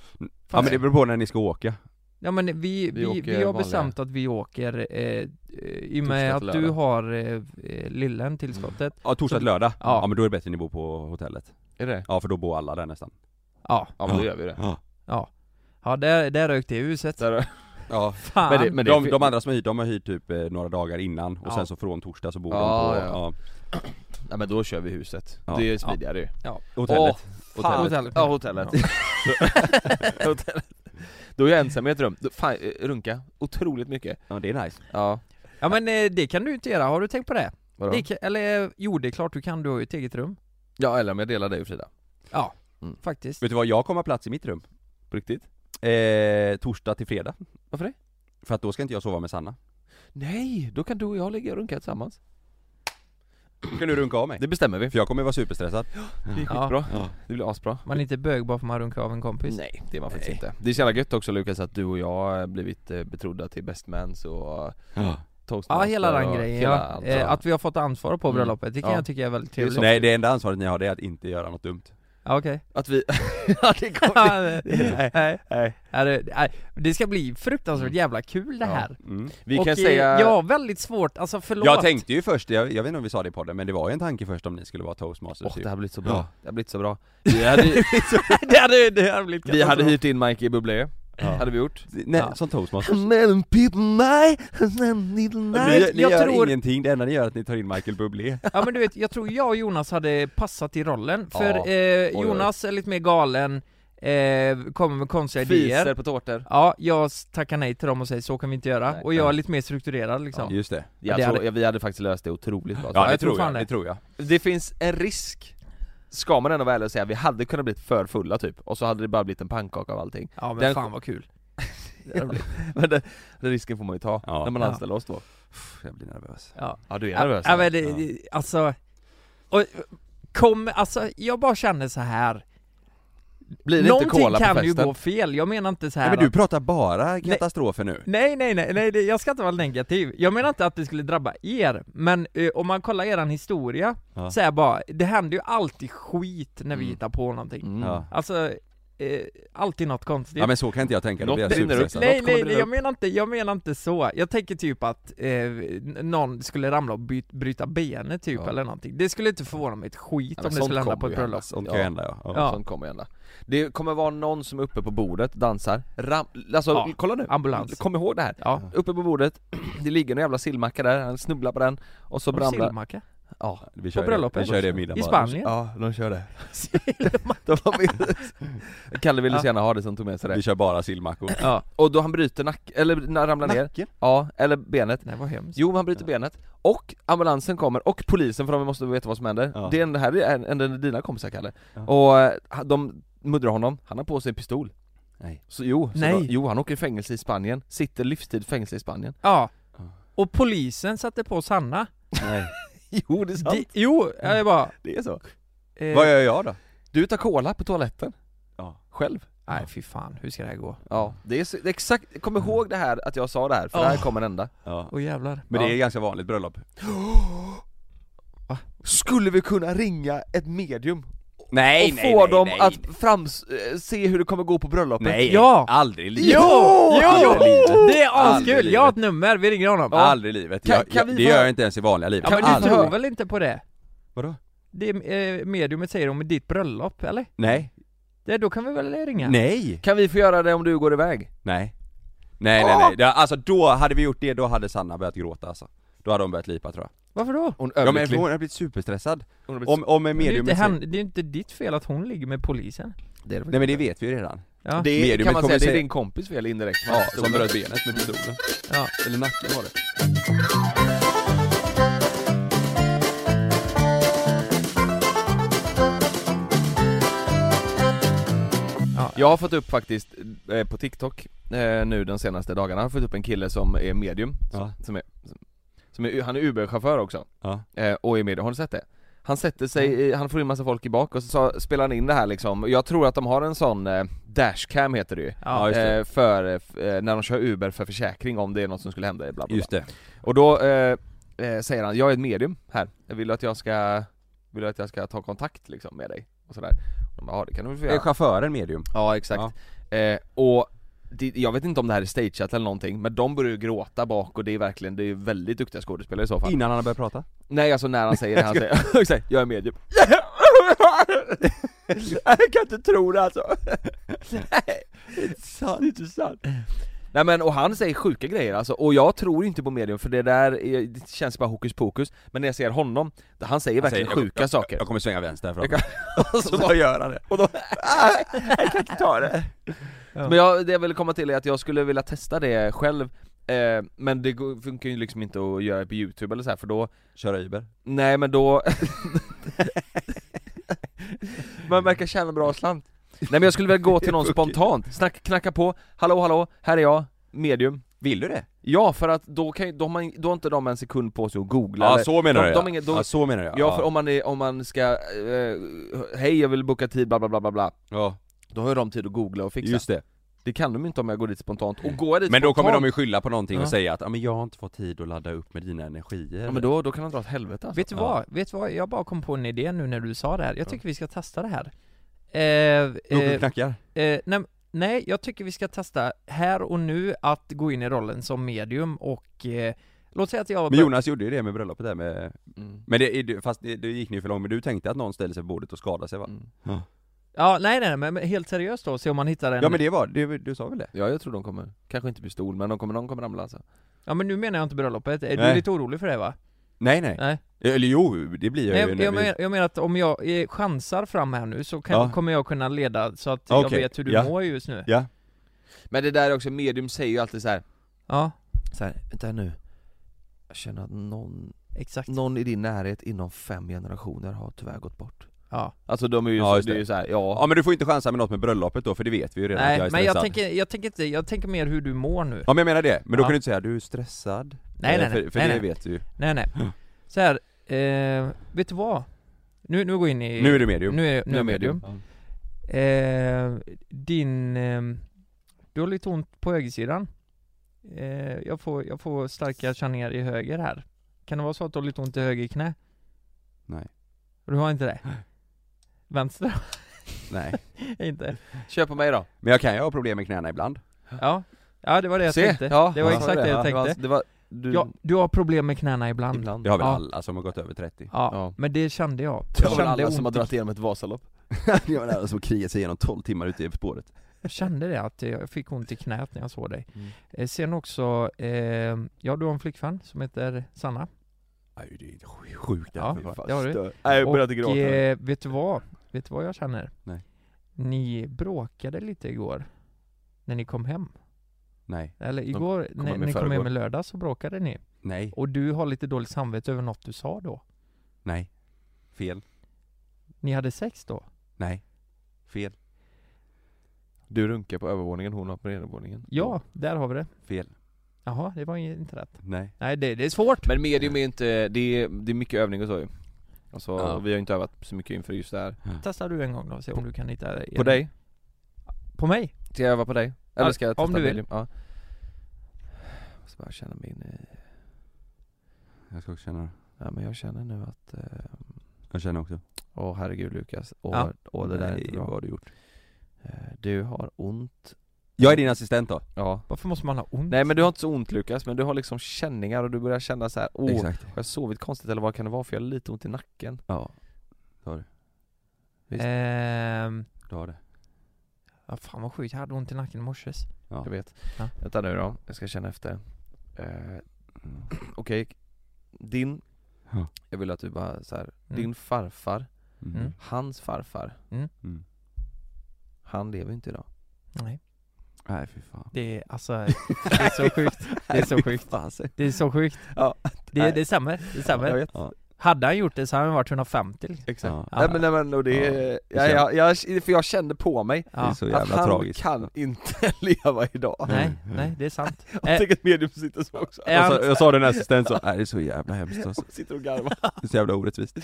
Ja men det beror på när ni ska åka. Ja men vi, vi, Vi åker vi, vanliga- har bestämt att vi åker eh, eh, i och Torsdag med att till du lördag. Mm. har eh, eh, lillen tillskottet. Ja torsdag till lördag. Ja. Ja. men då är det bättre att ni bor på hotellet. Är det Ja för då bor alla där nästan. Ja, Ja men då gör vi det Ja. ja. Ja, där, där rök det i huset. Där, ja. Fan! Men det- men- De, de andra som har hyrt, de har hyrt typ eh, några dagar innan och Ja. sen så från torsdag så bor Ja, de på ja. ja. nej men då kör vi huset, Ja. det är smidigare ju hotellet. Åh, hotellet. Fan, hotellet. Ja hotellet Hotellet Då är jag ensam i ett rum, Då- fan, eh, runka otroligt mycket Ja det är nice. Ja, Ja men eh, det kan du inte göra, har du tänkt på det? vadå? det kan, eller eh, jo det är klart du kan, du har ju ett eget rum. Ja eller om jag delar dig och Frida Ja, Mm. faktiskt. Vet du vad, jag kommer ha plats i mitt rum. På riktigt? Eh, torsdag till fredag. Varför det? För att då ska inte jag sova med Sanna. Nej, då kan du och jag ligga och runka tillsammans Kan du runka av mig? Det bestämmer vi, För jag kommer vara superstressad. det är Ja. skitbra Det blir asbra Man är inte bög bara för man runkar av en kompis. Nej, det är man faktiskt Nej. inte Det är så jävla gött också Lukas att du och jag har blivit eh, betrodda till best mans och eh, Ja, toastmaster hela den och grejen hela ja. allt. eh, Att vi har fått ansvar på Mm. bröllopet, det kan Ja. jag tycka är väldigt är trevligt. så. Nej, det enda ansvaret ni har det är att inte göra något dumt. Ja, okej. Att vi... ja, det kommer... Ja, Nej. Nej. Nej. Ja, det- nej, Det ska bli fruktansvärt jävla kul det Ja. här. Mm. Vi och kan eh, säga... jag har väldigt svårt, alltså förlåt. Jag tänkte ju först, jag, jag vet inte om vi sa det i podden, men det var ju en tanke först om ni skulle vara toastmasters Åh, typ. det här blir så bra. Ja. Det här blir så bra. Vi hade, det hade, det hade blivit vi hade katastrof. hyrt in Mike i Bublé. Hade vi gjort. Nej, Ja. som toastmasters. Melon people night, little ni, ni jag gör tror- ingenting, det enda ni gör är att ni tar in Michael Bublé. Ja men du vet, jag tror jag och Jonas hade passat i rollen, för Ja. eh, oj. Jonas är lite mer galen, eh, kommer med konstiga Fiser idéer på tårtor. Ja, jag s- tackar nej till dem och säger så kan vi inte göra, Nej. och jag är Nej. lite mer strukturerad liksom Just det. Ja, Det så, hade- ja, vi hade faktiskt löst det otroligt bra. Ja, det jag tror tror fan jag, det. det tror jag. Det finns en risk, ska man ändå vara ärlig och säga, vi hade kunnat blivit för fulla typ, och så hade det bara blivit en pannkaka av allting. Ja men Den- fan vad kul Det hade blivit- Men den, den risken får man ju ta, Ja. när man Ja. anställer oss då. Pff, Jag blir nervös. Ja, Ja du är ja, nervös? ja men det, det- alltså, och, kom, alltså jag bara känner så här Blir det inte Någonting cola på kan ju festen? gå fel, jag menar inte så här Nej, men du att- pratar bara katastrofer nu. Nej nej nej, nej det, jag ska inte vara negativ. Jag menar inte att det skulle drabba er, men eh, om man kollar eran historia, Ja. så här bara, det händer ju alltid skit när vi Mm. hittar på någonting. Mm. Ja. Alltså, eh, alltid något konstigt. ja men så kan inte jag tänka, då Något blir jag brinner upp. superstressad. nej något kommer nej nej, brinna jag upp. menar inte, jag menar inte så. Jag tänker typ att eh, n- någon skulle ramla och by- bryta benet typ Ja. eller någonting. Det skulle inte förvåna mig ett skit Ja, men om det sånt skulle hända kommer på ett ju bröllop. Sånt Ja. kan ju hända ja. ja. Ja. Sånt kommer hända. Det kommer vara någon som är uppe på bordet, dansar, ram, alltså Ja, kolla nu, ambulans. kom ihåg det här. Ja. Uppe på bordet, det ligger en jävla sillmacka där, han snubblar på den och så Har du ramlar... sillmacka? Ja. Vi kör bröllopet? det, vi kör det i middag I bara. Spanien? ja, de kör det. Sillmacka. De var med. Kalle ville så Ja. gärna ha det som tog med sig Vi det. kör bara sillmackor. ja. Och då han bryter nacken, eller när han ramlar ner, Nacken? ja, eller benet. Nej vad hemskt. Jo, men han bryter benet, och ambulansen kommer, och polisen för de måste veta vad som händer. Ja. Det är en, det här är en, en av dina kompisar Kalle. Ja. Och eh, de muddrar honom, han har på sig en pistol. Nej. Så jo, så Nej. Då, jo han åker i fängelse i Spanien, sitter livstid i fängelse i Spanien. Ja. Ja. Och polisen satte på Sanna. Nej. Jo, det är Di- jo, Mm. jag bara... Det är så. Eh, Vad gör jag då? Du tar cola på toaletten. Ja. Själv. Nej fy fan, hur ska det här gå? Ja, det är så, det är exakt, kom ihåg det här att jag sa det här, för Ja. det här kommer hända. Ja. Åh jävlar. Men det ja. är ganska vanligt bröllop. Skulle vi kunna ringa ett medium Nej och få dem att frams, eh, se hur det kommer gå på bröllopet? Nej, Ja. aldrig i livet. Jo! Jo! Aldrig i livet. Det är Aldrig askul! i livet. Jag har ett nummer, vi ringer honom. Ja, Aldrig i livet. Kan- Jag, kan vi jag, det vara- gör jag inte ens i vanliga livet. Kan- men du aldrig. tror väl inte på det? Vadå? Det eh, mediumet säger om ditt bröllop, eller? Nej. Det, då kan vi väl ringa? Nej. Kan vi få göra det om du går iväg? Nej. Nej, nej, nej. Det, alltså då, hade vi gjort det, då hade Sanna börjat gråta alltså. Då hade hon börjat lipa tror jag. Varför då? Hon Ja men hon hade blett superstressad. Om, om Det är, ju inte mediumet... hen, det är ju inte ditt fel att hon ligger med polisen. det, är det, Nej men det vet vi ju redan. Ja. det mediumet kan man kommer säga, det är säga- din kompis fel indirekt. Ja, som bröt benet med pistolen. Ja. Eller nacken var det. Jag har fått upp faktiskt eh, på TikTok eh, nu de senaste dagarna, har jag fått upp en kille som är medium, Ja. som, som är, som är, han är Uber-chaufför också, Ja. eh, och är medium, har du sett det? Han sätter sig, i, han får in massa folk i bak och så, sa- spelar han in det här liksom, jag tror att de har en sån eh, dashcam heter det ju Ja, Ja. just det. eh, för, eh, f- eh, när de kör Uber för försäkring om det är något som skulle hända bla bla, bla. Just det. Och då eh, eh, säger han, jag är ett medium här, jag vill att jag ska, vill att jag ska ta kontakt liksom med dig och sådär Och de bara, ja det kan du väl få Är göra chauffören medium? Ja exakt, Eh, och det, jag vet inte om det här är stageat eller någonting, men de börjar ju gråta bak och det är verkligen, det är ju väldigt duktiga skådespelare i så fall Innan han har börjat prata? Nej alltså när han säger det, han säger exakt, jag är typ. medium Jag kan inte tro det alltså Nej, det är inte sant, det är inte sant Nej men och han säger sjuka grejer alltså, och jag tror inte på medium för det där är, det känns bara hokus pokus Men när jag ser honom, han säger Han verkligen säger, sjuka saker Jag kommer svänga vänster härifrån. Jag kan- Och så Så gör han det. och då, jag kan inte ta det Ja. Men jag, det jag ville komma till är att jag skulle vilja testa det själv eh, Men det går- funkar ju liksom inte att göra på youtube eller så här, för då Köra Uber. Nej men då Man verkar tjäna bra slant Nej men jag skulle väl gå till någon spontant, Snack, knacka på, hallå hallå, här är jag, medium Vill du det? Ja för att då kan ju- då har, man, då har inte de en sekund på sig att googla Ja eller- så menar de- jag de är inget- de- ja så menar jag Ja för om man, är, om man ska, eh, hej jag vill boka tid bla bla bla bla bla ja Då har ju de tid att googla och fixa just det Det kan de ju inte om jag går dit spontant, och går jag dit Men då spontant, kommer de ju skylla på någonting Ja. och säga att ja, men jag har inte fått tid att ladda upp med dina energier Ja men då, då kan de dra åt helvete alltså. Vet du vad? Vet du vad? Jag bara kom på en idé nu när du sa det här. Jag tycker vi ska testa det här. Eh, Någon eh, knackar? eh, nej, nej, jag tycker vi ska testa här och nu att gå in i rollen som medium och eh, Låt säga att jag... Men Jonas gjorde ju det med bröllopet där med, Mm. men det, är du- fast det, det gick ni för långt, men du tänkte att någon ställde sig på bordet och skadade sig va? Mm. Ja, nej, nej, nej, men men helt seriöst då, se om man hittar en... Ja men det var, du, du sa väl det? Ja jag tror de kommer, kanske inte bli stor men de kommer, någon kommer ramla alltså ja, men nu menar jag inte bröllopet. Är du Nej. lite orolig för det va? Nej nej, Nej. eller jo, det blir jag Nej, jag, ju när jag, vi- menar, jag menar att om jag eh, chansar fram här nu så kan, Ja. kommer jag kunna leda så att jag Okej, vet hur du ja. mår just nu. Ja, Men det där är också, medium säger ju alltid så här. Ja, så här, vänta nu Jag känner att någon, exakt. någon i din närhet inom fem generationer har tyvärr gått bort Ja. Alltså de är ju, Ja, så, just det. är det. ju så här, ja ja men du får inte chansa med något med bröllopet då för det vet vi ju redan att jag Nej, är men stressad jag tänker, jag tänker inte, jag tänker mer hur du mår nu. Ja men jag menar det, men Ja. då kan du inte säga du är stressad Nej, nej, Eh, nej, För, för nej, det nej. vet du ju Nej, nej. Så här, eh, vet du vad? Nu, nu går jag in i... Nu är du medium Nu är, nu Nu är är medium. Eh, din... ehm, du har lite ont på högersidan. Eh, jag, får, jag får starka känningar i höger här. Kan det vara så att du har lite ont i höger knä? Nej. Du har inte det? Vänster Nej har inte? Kör på mig då! Men jag kan ju ha problem med knäna ibland Ja. Ja, det var det jag Se! tänkte. Ja, det var ja, exakt det jag det var, tänkte. det var du, Ja, du har problem med knäna ibland. ibland Det har väl Ja. alla som har gått över 30 Ja, Ja. men det kände jag. Det var väl kände alla som har ont i- dragit igenom ett Vasalopp Det var alla som krigar sig igenom 12 timmar ute i spåret Jag kände det, att jag fick ont i knät när jag såg dig. Mm. Eh, sen också, eh, ja du har en flickvän som heter Sanna. Nej det är sjukt Ja. för fan. Det har du. Stör. Nej jag började Och gråta eh, vet du vad? Vet du vad jag känner? Nej. Ni bråkade lite igår. När ni kom hem. Nej, Eller igår, kom när hem i ni kom hem förrgår. i lördag så bråkade ni. nej, Och du har lite dåligt samvete över något du sa då. nej Fel, Ni hade sex då? nej Fel, Du runkar på övervåningen, hon har på nedervåningen Ja, där har vi det. fel, Jaha, det var ju inte rätt. nej Nej, det, det är svårt. Men medium är inte, det är, det är mycket övning och så ju alltså, Ja. och vi har inte övat så mycket inför just det här Testar du en gång då, se om du kan hitta På dig? På mig? Ska jag öva på dig? Eller ska jag om testa du vill. medium? Ja. Jag måste bara känna min... eh, Jag ska också känna det. Ja men jag känner nu att... eh, Jag känner också Åh herregud Lukas, åh, Ja. åh det där är Nej, inte vad bra. har du gjort? Eh, Du har ont. Jag är din assistent då? Ja. Varför måste man ha ont? Nej men du har inte så ont Lukas, men du har liksom känningar och du börjar känna så här. åh, Exakt har jag sovit konstigt eller vad kan det vara för jag har lite ont i nacken? Ja, visst. Ehm, du har det Ja fan vad sjukt, jag hade ont i nacken i morse Ja. Jag vet. Ja. Vänta nu då, jag ska känna efter. Eh, Okej, din, Ja. jag vill att du bara så här. Mm. din farfar, Mm. Mm. hans farfar, Mm. han lever inte idag. Nej Nej fy fan Det är alltså, det är så sjukt Det är så sjukt Det är så sjukt Ja. Det, det stämmer, det jag stämmer vet. Ja. Hade han gjort det så hade han varit 150 liksom. Exakt. Ja. Nej men, nej, men och det, Ja. ja. Jag, jag, för jag kände på mig Det är ja. så att jävla han tragiskt kan inte leva idag. Nej, nej det är sant Jag tänker att medium sitter så också. Är han- Jag sa- Jag sa det när assistent så, nej det är så jävla hemskt alltså. Sitter och garvar. Det är så jävla orättvist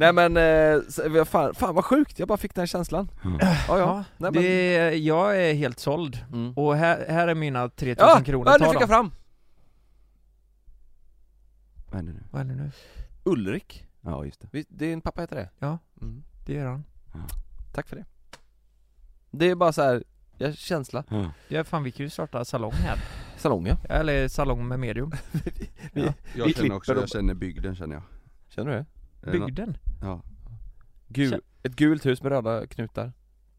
Nej men, eh, så- vad fan, fan vad sjukt, jag bara fick den här känslan. Ja, ja. Ja, Nej, men, det, jag är helt såld mm. Och här, här är mina 3000 ja, kronor, ja, nu ta fick jag dem fram! Vad händer nu? Vad är det nu? Ulrik, Ja just det Vi- din pappa heter det? Ja. Mm. Det gör han Tack för det. Det är bara så här, jag känsla. Ja fan vi kan ju starta salong här Salong ja. Eller salong med medium Vi Jag känner också, klipper jag känner bygden känner jag Känner du det? Är det nå- Bygden Ja, Gul, ett gult hus med röda knutar.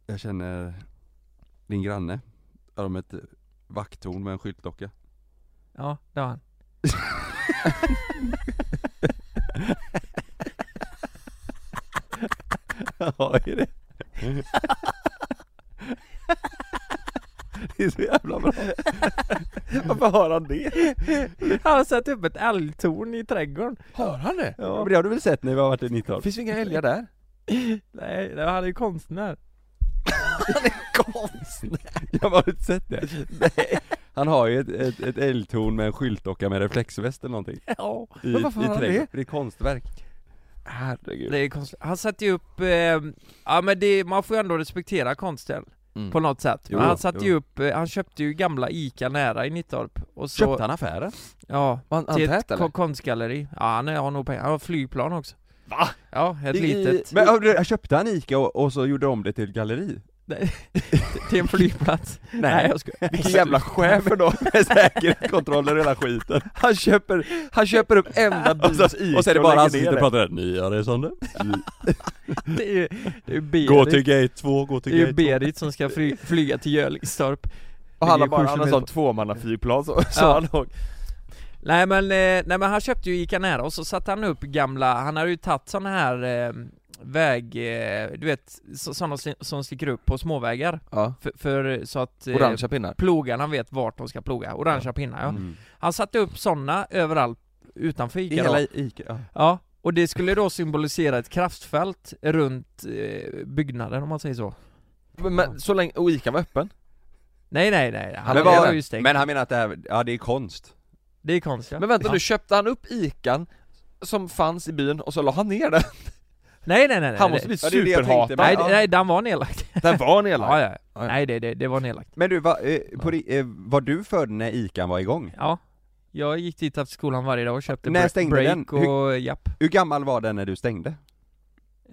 jag känner din granne Har de ett vakttorn med en skyltdocka? Ja, det har han Ja, är det? Det är så jävla bra Varför har han det? Han har satt upp ett älgtorn i trädgården Har han det? Ja men det har du väl sett när vi har varit i Nittorp? Finns det inga älgar där? Nej, nej, han är ju konstnär. Konstnär! Jag har inte sett det. Nej. Han har ju ett, ett, ett eldtorn med en skyltdocka med reflexväst eller någonting. Ja, I, men varför i har han trädgården. det? Det är konstverk. Herregud. Det är konst... Han satte ju upp, eh, ja men det, man får ju ändå respektera konsten Mm. på något sätt. Men Jo, han satte ju jo. upp, eh, han köpte ju gamla ICA nära i Nittorp och så, Köpte han affären? ja, Var han, han till ett tät eller? ko- konstgalleri. Ja han är- har nog pengar, han har flygplan också. Va? Ja, ett I- litet. Men ja, du, köpte han Ica och, och så gjorde om det till ett galleri? Till en flygplats. Nej, jag Alltså, ska... Vilken jävla chef då! Med säkerhetskontroller och hela skiten. Han köper, han köper upp enda Och så, bils Ica och så är det bara lägger han ner som sitter och det. pratar där. Nya resande. Det är ju, det är ju Berit. Gå till gate 2, gå det till är ju gate 2. Berit som ska fly, flyga till Jölkstorp. Och han ligger har ju bara, sju han har kilometer sån tvåmannaflygplan så, så Ja. han åker. Nej men, eh, nej men han köpte ju Ica nära och så satte han upp gamla, han hade ju tagit såna här eh, väg, eh, du vet, så- såna som- som sticker upp på småvägar. Ja. För, för så att eh, Orangea pinnar. plogarna vet vart de ska ploga, orangea pinnar ja. Mm. Han satte upp såna överallt utanför I Ica hela då. Ica, ja. Ja, och det skulle då symbolisera ett kraftfält runt eh, byggnaden om man säger så. Men, men så länge, och Ica var öppen? Nej nej nej, han Men det vad- var ju stängt. Men han menar att det här, ja det är konst. Det är konstigt. ja. Men vänta Ja. nu, köpte han upp Ican som fanns i byn och så la han ner den? Nej nej nej. nej Han måste bli Ja, det är det jag tänkte, superhatad! men- Nej, Ja. nej, den var nedlagd. Den var nedlagd! Ja, ja. Ja, ja. Nej, det, det, det var nedlagt. Men du, va, eh, på, ri- eh, var du född när Ican var igång? Ja. Jag gick dit efter skolan varje dag och köpte När bre- stängde break den? Hur- och japp. Hur gammal var den när du stängde?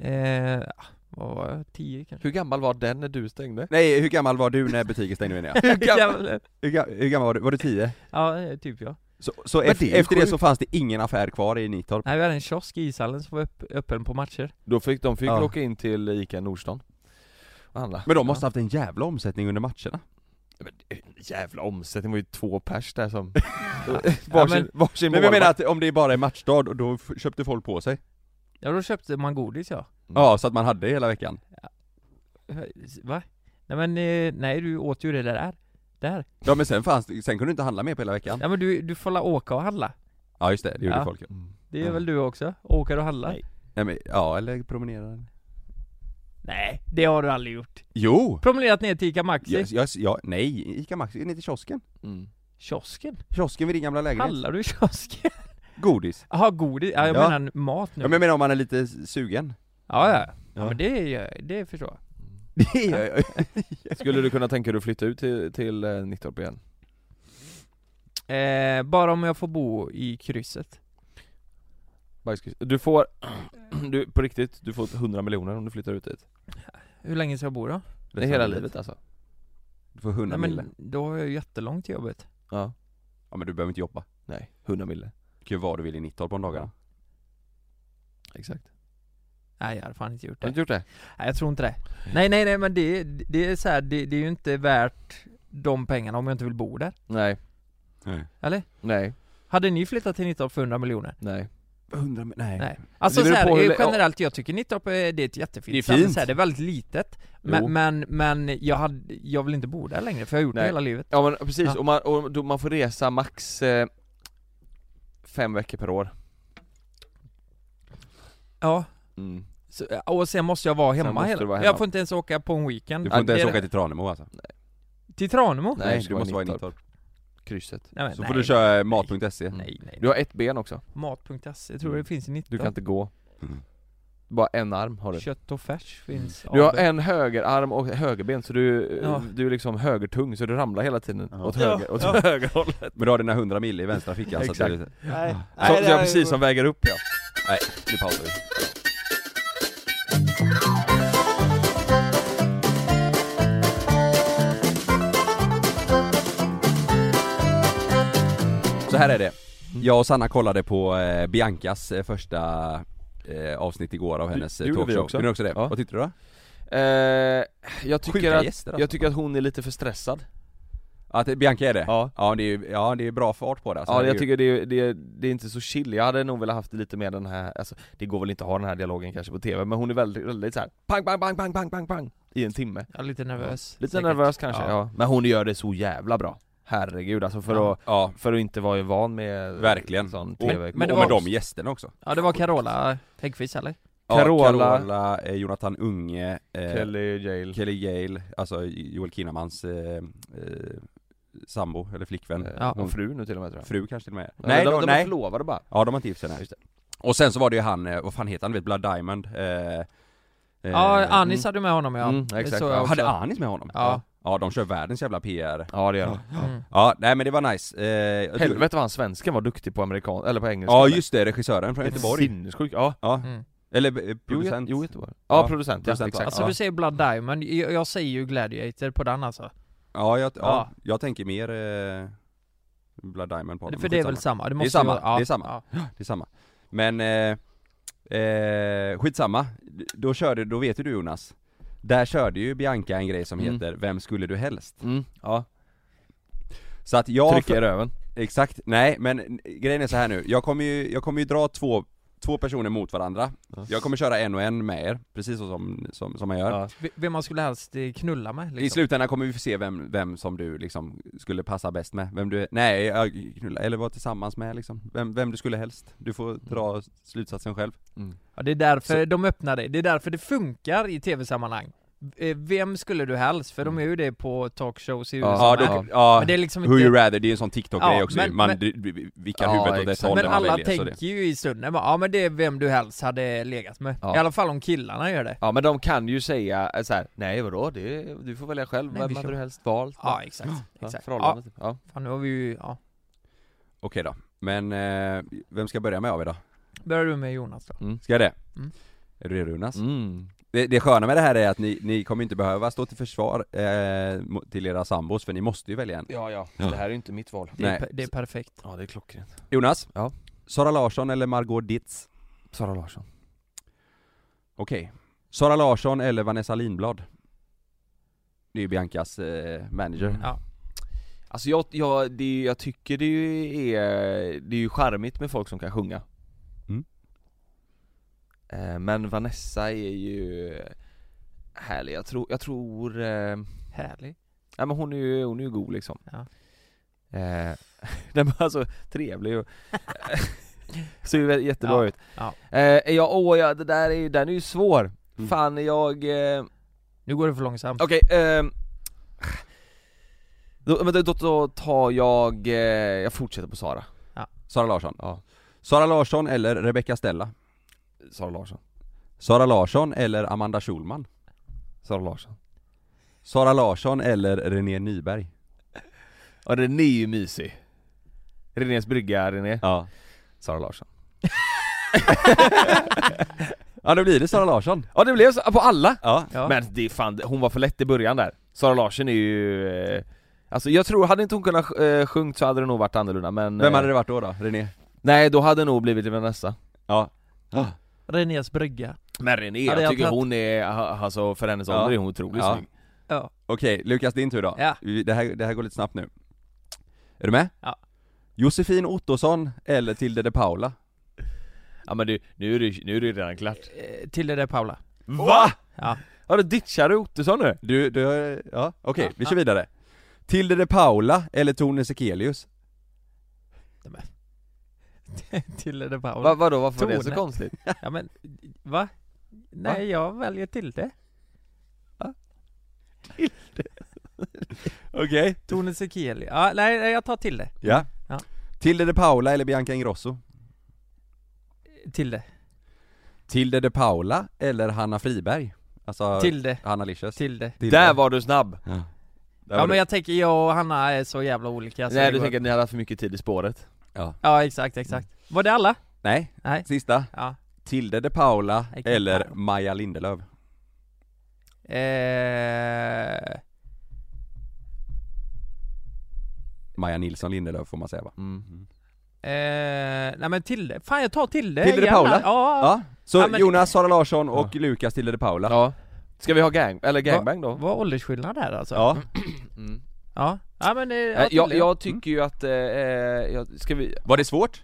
Eh, vad var jag? Tio kanske? Hur gammal var den när du stängde? Nej, hur gammal var du när butiken stängde menar jag? Hur gammal? Hur, ga, hur gammal var du? Var du tio? Ja, eh, typ ja. Så, så Men ef- det är ju efter det sjukt. så fanns det ingen affär kvar i Nittorp? Nej, vi hade en kiosk i ishallen som var öpp- öppen på matcher. Då fick de fick Ja. åka in till Ica Nordstan och handla. Men de måste haft en jävla omsättning under matcherna? Jävla omsättning, det var ju två pers där som... Ja, varsin men- varsin Men jag menar målvakt. att om det bara är matchdag, då- då f- köpte folk på sig? Ja, då köpte man godis ja. Ja, så att man hade det hela veckan? Va? Nej men, eh, nej du åt ju det där. Där. Ja men sen fanns det, sen kunde du inte handla mer på hela veckan? Ja men du, du får la åka och handla. Ja just det, det gjorde Ja. folk Mm. Det är Ja. väl du också? Åker och handlar? Nej. Nej men, ja eller promenerade Nej, det har du aldrig gjort. Jo! Promenerat ner till Ica Maxi. Jag, jag, jag, nej, Ica Maxi, ner till kiosken Mm. Kiosken? Kiosken vid din gamla lägenhet Handlar du i kiosken? Godis Jaha, godis? Ja, jag Ja. menar mat nu. Ja men jag menar om man är lite sugen ja, ja. ja. Ja. men det, är- det förstår jag. Mm. Det gör jag Skulle du kunna tänka dig att flytta ut till, till eh, Nittorp igen? Eh, bara om jag får bo i krysset. Bajskris. Du får, du, på riktigt, du får 100 miljoner om du flyttar ut dit. Hur länge ska jag bo då? Det är hela livet alltså. Du får 100 Nej, mille men då har jag ju jättelångt till jobbet. Ja. Ja men du behöver inte jobba Nej, 100 mille. Du kan ju vara du vill i Nittorp om dagarna Exakt. Nej, jag hade fan inte gjort Har du det. inte gjort det? Nej, jag tror inte det. Nej, nej, nej, men det, det är så här, det, det är ju inte värt de pengarna om jag inte vill bo där. Nej. Eller? Nej. Hade ni flyttat till Nittorp för 100 miljoner? Nej. 100 mille, nej. Nej. Alltså Det beror så här, på hur- eh, generellt, jag tycker Nittorp eh, det är ett jättefint Det är ställe fint. så här, det är väldigt litet. Jo. Men, men, men jag, hade, jag vill inte bo där längre för jag har gjort det Nej. hela livet. Ja men precis, Ja. och, man, och då man får resa max eh, fem veckor per år. Ja, Mm. Så, och sen måste jag vara Sen hemma, måste hela. du vara Jag hemma. får inte ens åka på en weekend Du får inte Det är ens det- åka till Tranemo alltså? Till Tranemo? Nej, Nej, du du måste måste vara i Nittorp Krysset. Nej, men, Så nej, får du köra mat.se Nej nej, Du har ett ben också. Mat.se tror jag det finns i 19 Du kan inte gå. Mm. Bara en arm har du. Kött och färs finns Mm. Du har AB. en högerarm och högerben så du, Ja. du är liksom högertung så du ramlar hela tiden Ja. åt höger, åt höger håll. Så, Men du har dina 100 mille i vänstra fickan så att det är lite... nej, Nej, så det jag här- precis som väger upp ja. Nej, nu pausar vi Så här är det. Mm. Jag och Sanna kollade på eh, Biancas eh, första eh, avsnitt igår av hennes eh, gjorde vi talkshow. också. Gjorde ni också det? Ja. Vad tyckte du då? Eh, jag, tycker Sjuka att, gäster, alltså. jag tycker att hon är lite för stressad Att eh, Bianca är det? Ja. Ja det är, ju- ja, det är bra fart på det alltså. Ja Det är jag ju- tycker det är, det, är, det är inte så chill, jag hade nog velat haft lite mer den här, alltså, det går väl inte att ha den här dialogen kanske på tv men hon är väldigt, väldigt såhär pang pang pang pang pang pang pang i en timme Jag är lite nervös Lite säkert. nervös kanske, ja. Ja. Men hon gör det så jävla bra Herregud alltså för Ja. att, Ja, för att inte vara van med Verkligen. sån Och- tv men det och var- med de gästerna också. Eh, Ja det var Carola eh, Häggkvist eller? Ja, Carola. Carola eh, Jonathan Unge, eh, Kelly. Kelly Jail. Gale, alltså Joel Kinnamans eh, eh, sambo, eller flickvän, Eh, Ja. Hon fru nu till och med tror jag. fru kanske till och med Ja, de, då- de är förlovade bara. Ja de har inte gift sig nej. Just Och sen så var det ju han, eh, vad fan heter han, du vet Blood Diamond? Eh, eh, Ja, Anis mm. hade med honom ja. Mm, Det exakt, såg ja. jag också. Hade Anis med honom? Ja. Ja de kör världens jävla PR Ja det gör de. Mm. Ja, nej men det var nice eh, jag tror- Helvete vad han svensken var duktig på amerikan, eller på engelska. Ja eller? just det, regissören från Göteborg Sinnessjuk, ja. Ja, Mm. eller eh, Jo, producent Jo, Göteborg. Ja, Ja, producent, producent, ja, exakt. Alltså ja. du säger Blood Diamond, jag, jag säger ju Gladiator på den alltså. ja, jag, ja, Ja. jag tänker mer eh, Blood Diamond på honom, För det är skitsamma. väl samma? Det, är måste ju samma, vara- ja, det är samma. Ja. Det är samma Men, eh, eh, skitsamma Då körde, då vet ju du Jonas Där körde ju Bianca en grej som Mm. heter 'Vem skulle du helst?' Mm, ja. Så att jag Trycka i röven. Exakt, nej men grejen är så här nu, jag kommer ju, jag kommer ju dra två, två personer mot varandra Ja. Jag kommer köra en och en med er, precis så som, som, som jag gör Ja. V- Vem man skulle helst eh, knulla med liksom. I slutändan kommer vi få se vem, vem som du liksom skulle passa bäst med, vem du, nej, jag knulla, eller vara tillsammans med liksom, vem, vem du skulle helst Du får dra slutsatsen själv Mm. Ja, det är därför Så- de öppnar det, det är därför det funkar i tv-sammanhang. Eh, Vem skulle du helst? För de är ju det på talkshows i USA Ja, med. då- ja. Men det är liksom Who you inte... rather, det är en sån TikTok-grej Ja, också men- man, men- du- du- Vilka Ja, huvud åt ett exakt. håll Men man alla väljer så det. tänker ju i stunden bara, ja men det är vem du helst hade legat med. Ja. I alla fall om killarna gör det. ja, men de kan ju säga eh, så här: nej vadå, det, du får välja själv, Nej, vem vi kör. hade du helst valt? Ja exakt, Ja, exakt. Ja, förhållandet. Ja. fan, nu har vi ju, ja. Okej då, men eh, vem ska börja med av er då? Börjar du med Jonas då? Ska jag det? Mm. Är du redo Jonas? Mm. Det, det sköna med det här är att ni, ni kommer inte behöva stå till försvar eh, mo- till era sambos för ni måste ju välja en ja, ja. Det här är ju inte mitt val. Det är, Nej. per- det är perfekt. Ja, det är klockrent. Jonas? Ja. Sara Larsson eller Margot Ditz? Sara Larsson. Okej Sara Larsson eller Vanessa Lindblad? Det är ju Biancas eh, Mm. manager Ja. Alltså jag, jag, det, jag tycker det ju är, det är ju charmigt med folk som kan sjunga Mm. Eh, Men Vanessa är ju härlig, jag tror, jag tror eh, Härlig. Ja men hon är ju, hon är ju god liksom Ja. eh, Nej men alltså, trevlig och Ser ju jättebra Ja, ut ja. Eh, ja, åh, ja, det där är ju, den är ju svår Mm. Fan jag, eh, Nu går det för långsamt. okej ehm då, men då, då, då tar jag, eh, jag fortsätter på Sara Sara Larsson? Ja. Sara Larsson eller Rebecca Stella? Sara Larsson Sara Larsson eller Amanda Schulman? Sara Larsson Sara Larsson eller René Nyberg? Ja René är ju mysig Renés brygga, René Ja Sara Larsson Ja då blir det Sara Larsson Ja det blev så, på alla! Ja Ja. Men det är fan, hon var för lätt i början där Sara Larsson är ju eh, Alltså jag tror, hade inte hon kunnat eh, sjungt så hade det nog varit annorlunda men Vem eh, hade det varit då då? René? Nej då hade det nog blivit typ Vanessa Ja Renés brygga. Men René, Hade jag jag tycker tagit- hon är, ha- alltså för hennes Ja. ålder är hon otroligt Ja. snygg Ja. Okej, Lukas din tur då. Ja. Vi- Det, här, det här går lite snabbt nu. Är du med? Ja. Josefin Ottosson eller Tilde de Paula? Ja men du, nu är det, nu är det redan klart Eh, Till det där Paula. VA? Ja. Ja då ditchar du Ottosson nu? Du, du, ja, okej, Ja, vi ja. kör vidare. Tilde de Paula eller Tone Sekelius? Till det där Paula. Va, vadå, varför var det så Tone. konstigt? Ja men, va? Nej Va? jag väljer till det. Okej. Tone Sekeli. Ja, nej, nej jag tar till det. Ja. Ja. Tilde de Paula eller Bianca Ingrosso? Till det. Tilde de Paula eller Hanna Friberg? Alltså, Till det. Hanna Licious? Till det. Tilde. Där var du snabb! Ja. Där Ja var men du. jag tänker, jag och Hanna är så jävla olika så Alltså, det Nej du går- tänker att ni hade haft för mycket tid i spåret Ja. Ja exakt, exakt. Var det alla? Nej, Nej. sista. Ja. Tilde de Paula Jag kan eller inte. Maja Lindelöf? Eh, Maja Nilsson Lindelöf får man säga va? eh, nej men till det. Fan jag tar till det. Till det gärna. Paula? Ja. Ja, så Ja, men- Jonas, Sara Larsson och Lukas Tilde de Paula Ja Ska vi ha gang, eller gangbang då? Vad åldersskillnad där alltså? Ja, Mm. Ja, ja men eh, Eh, ja, till jag, det. jag tycker ju att, eh, eh, jag, ska vi, var det svårt?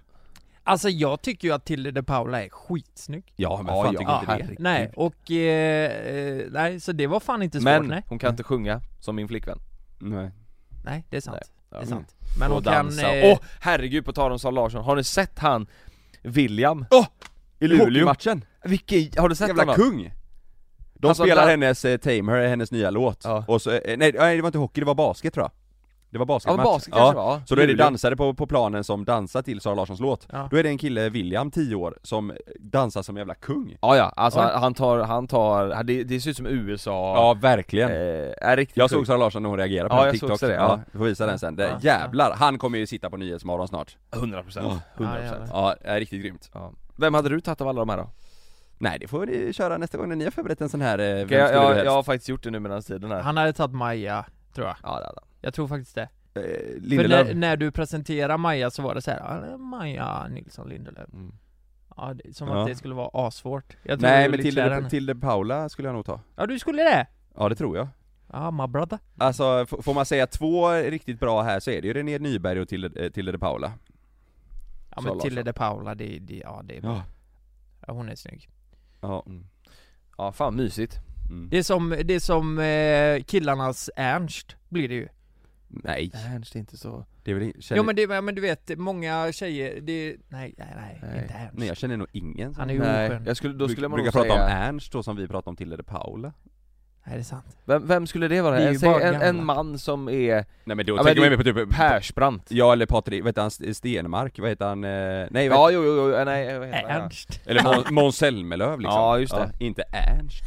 Alltså jag tycker ju att Tilde de Paula är skitsnygg Ja, men Ja, fan ja. tycker Ja, inte det? herregud. Nej, och eh, eh, nej så det var fan inte svårt Men nej hon kan inte sjunga som min flickvän Nej. Nej det är sant, Ja. det är sant Men och hon kan... dansa, Eh, åh herregud på tal om Sara Larsson, har ni sett han William? Åh! I Luleå. Luleå? Hockeymatchen? Vilken, har du sett Jävla honom? kung! De Alltså, spelar där- hennes eh, Tame Her, hennes nya låt, Ja. och så, eh, nej, nej det var inte hockey, det var basket tror jag Det var Ja, basketmatch men basket kanske det var. Så då är det Luleå. dansare på, på planen som dansar till Sara Larssons låt Ja. Då är det en kille, William, 10 år, som dansar som en jävla kung Ja ja, alltså Ja. han- han tar, han tar, det, det ser ut som USA verkligen eh, är riktigt Jag såg sjukt. Sara Larsson när hon reagerade på Ja, den jag såg TikTok också det, ja. ja. Vi får visa den sen, det, Ja. jävlar! Han kommer ju sitta på Nyhetsmorgon snart 100% 100% Ja, det är riktigt grymt ja. Vem hade du tagit av alla de här då? Nej det får ni köra nästa gång när ni har förberett en sån här, eh, vem Okej, jag, skulle du jag, helst? jag har faktiskt gjort det nu medan tiden här Han hade tagit Maja, tror jag. Ja, det hade han. Jag tror faktiskt det. Eh, För Lindelöf när, när du presenterade Maja så var det så här, "Ja, det är Maja Nilsson Lindelöf. Mm. Ja, det, som Ja. att det skulle vara assvårt. Jag tror Nej du men lyckligare Tilde, än- Tilde Paula skulle jag nog ta Ja, du skulle det? Ja det tror jag Ja, my brother. Alltså, f- får man säga två riktigt bra här så är det ju René Nyberg och Tilde, eh, Tilde de Paula Ja, Sara men Tilde Larsson. de Paula, det, det, ja, det är bra. Ja, Ja, hon är snygg. ja. Mm. Ja, fan mysigt Mm. Det är som, det är som eh, killarnas Ernst, blir det ju. Nej, Ernst är inte så det är väl in- känner... Ja men, det, ja men du vet, många tjejer, det, nej, nej, nej, Nej. inte Ernst. Nej jag känner nog ingen som Han är ju Nej, oskön. jag skulle, då skulle Bruk- man brukar nog prata om säga Ernst då som vi pratar om Tilde de Paula Nej, det är sant. vem, vem skulle det vara? Vi är ju Säg bara en, en gamla. man som är Nej men då Ja, men tänker det- man ju mer på typ Persbrandt Ja eller Patrik, vad heter han, St- Stenmark, vad heter han, eh, nej vad Ja, jo, jo, jo, nej, vad heter han? Ernst. Eller Måns- Måns Zelmerlöw liksom Ja, just det. Inte Ernst